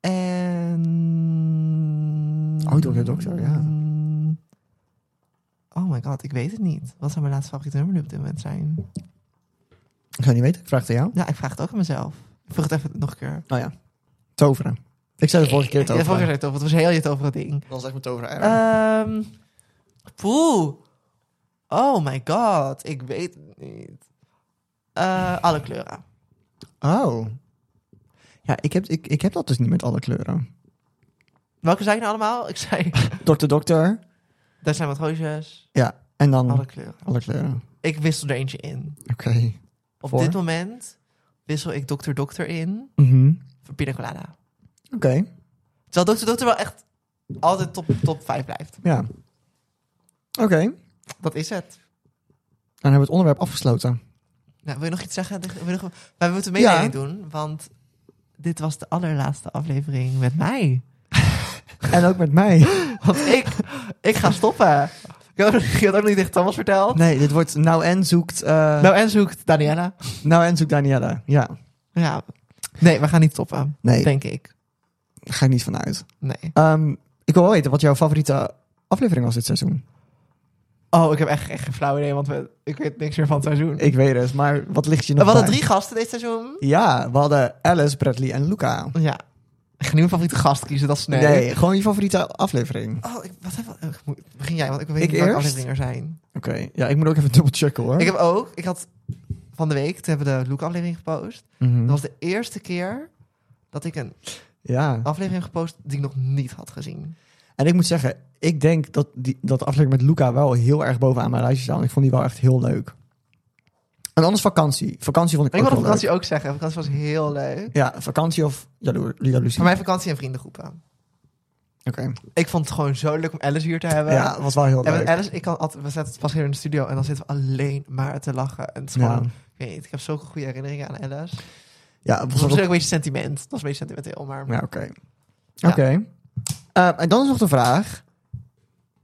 En... Oh, Dokter Dokter, ja. Oh my god, ik weet het niet. Wat zou mijn laatste favoriete nummer nu op dit moment zijn? Ik zou niet weten. Ik vraag het aan jou. Ja, ik vraag het ook aan mezelf. Ik vroeg het even nog een keer. Oh ja. Toveren. Ik zei de vorige keer Ja, toveren. vorige keer tover. Het was heel je tovere ding. Dat was echt mijn toveren. Ehm poeh. Oh my god. Ik weet het niet. Eh, alle kleuren. oh. Ja, ik heb, ik, ik heb dat dus niet met alle kleuren. Welke zijn er allemaal? Ik zei... Dokter, dokter. Daar zijn wat roosjes. Ja, en dan alle, Alle kleuren. kleuren. Ik wissel er eentje in. Oké. Op Voor? dit moment wissel ik Dr. Dokter in Mhm. voor Pina Colada. Oké, Terwijl Dr. Dokter wel echt altijd top, top 5 blijft. ja. Oké, Dat is het. dan hebben we het onderwerp afgesloten. Nou, wil je nog iets zeggen? Wil je nog... Maar we moeten mededeling Ja. doen, want dit was de allerlaatste aflevering met mij. En ook met mij. Want ik, ik ga stoppen. Ik had, ik had ook niet tegen Thomas verteld. Nee, dit wordt Nou en zoekt... eh, nou. Nou, en zoekt Daniela. en zoekt Daniela. Ja. Ja. Nee, we gaan niet stoppen. Nee, daar Denk ik. ga ik niet van uit. Nee. Ehm, ik wil wel weten wat jouw favoriete aflevering was dit seizoen. Oh, ik heb echt, echt geen flauw idee, want we, ik weet niks meer van het seizoen. Ik weet het, maar wat ligt je we nog hadden bij? drie gasten dit seizoen. Ja, we hadden Alice, Bradley en Luca. Ja. Ik ga niet mijn favoriete gast kiezen, dat is Nee. nee. gewoon je favoriete aflevering. Oh, ik, wat heb, wat- eh, moet- begin jij, want ik weet Ik niet welke eerst? afleveringen er zijn. Oké, ja, ik moet ook even dubbelchecken hoor. Ik heb ook, ik had van de week, toen hebben we de Luke-aflevering gepost. Mhm. Dat was de eerste keer dat ik een Ja, aflevering heb gepost die ik nog niet had gezien. en ik moet zeggen, ik denk dat die, dat de aflevering met Luca wel heel erg bovenaan mijn lijstje staat. Ik vond die wel echt heel leuk. En anders vakantie. Vakantie vond ik, En ik ook wil op wel vakantie ook zeggen. Vakantie was heel leuk. leuk. Ja, vakantie of jaloer, jaloezie. Voor mij vakantie en vriendengroepen. Oké, Ik vond het gewoon zo leuk om Alice hier te hebben. ja, was wel heel En leuk. met Alice, ik kan altijd, we zetten het pas hier in de studio en dan zitten we alleen maar te lachen. En het is Ja. gewoon, ik weet niet, ik heb zulke goede herinneringen aan Alice. Ja, het Het was was ook wel... een beetje sentiment. Dat was een beetje sentimenteel, maar... Ja, oké. Oké. Eh, en dan is nog de vraag,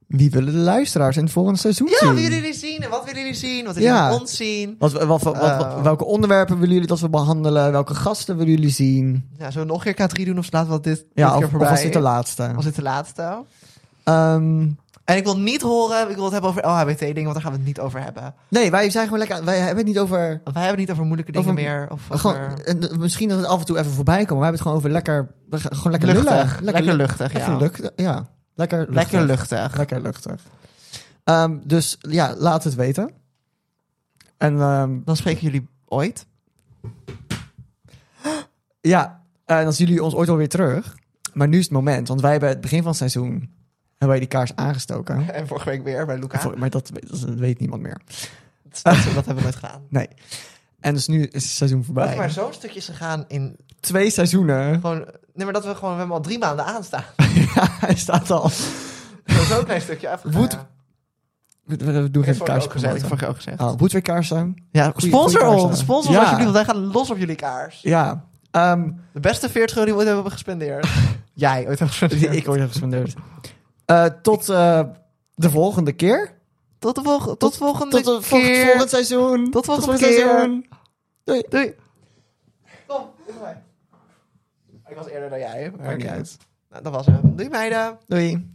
wie willen de luisteraars in het volgende seizoen Ja, zien? wat willen jullie zien? En wat willen jullie zien? Wat willen Ja. jullie ons zien? Wat, wat, wat- wat- Eh. wat- welke onderwerpen willen jullie dat we behandelen? Welke gasten willen jullie zien? Ja, zullen we nog een keer K3 doen of laten we dat dit, dit Ja, keer of, of voorbij? was dit de laatste? Was dit de laatste? Ehm, En ik wil niet horen, ik wil het hebben over LHBT-dingen, want daar gaan we het niet over hebben. nee, wij zijn gewoon lekker... Wij hebben het niet over... Want wij hebben het niet over moeilijke dingen Over- meer. Of over Gewoon, eh, misschien dat het af en toe even voorbij komt. Maar we hebben het gewoon over lekker... we gaan Gewoon lekker luchtig. lullig. Lekker luchtig, ja. Even lucht- ja. Lekker luchtig. Lekker luchtig. Lekker luchtig. Ehm, dus ja, laat het weten. En ehm, Dan spreken jullie ooit. ja, en dan zien jullie ons ooit alweer terug. Maar nu is het moment, want wij hebben het begin van het seizoen... hebben wij die kaars aangestoken. En vorige week weer bij Luca. Voor- Maar dat, dat weet niemand meer. Dat, dat hebben we nooit gedaan. Nee. En dus nu is het seizoen Dat voorbij. maar zo'n stukje is gegaan in Twee seizoenen. gewoon... Nee, maar dat we gewoon... We hebben al drie maanden aanstaan. ja, hij staat al. Zo'n klein stukje afgegaan. Woed- We, we- we doen Ik heb geen vorige keer ook gezegd. Ik kaars. heb vorige keer ook gezegd. Oh, Woodway kaarsen. Ja, Goeie- sponsor goeie ons. kaarsen. Sponsor Ja. ons alsjeblieft, want wij gaan los op jullie kaars. Ja. Ehm, De beste 40 euro die we ooit hebben gespendeerd. Jij ooit hebt die gespendeerd. ik ooit heb gespendeerd. Eh, tot eh, de volgende keer. Tot de volgende, tot, volgende Tot de vol- keer. volgend seizoen. Tot volgende volgend keer. Doei. Doei. Kom, dit mij. Ik was eerder dan jij. maar Maakt niet oké. uit. Nou, dat was hem. Doei meiden. Doei.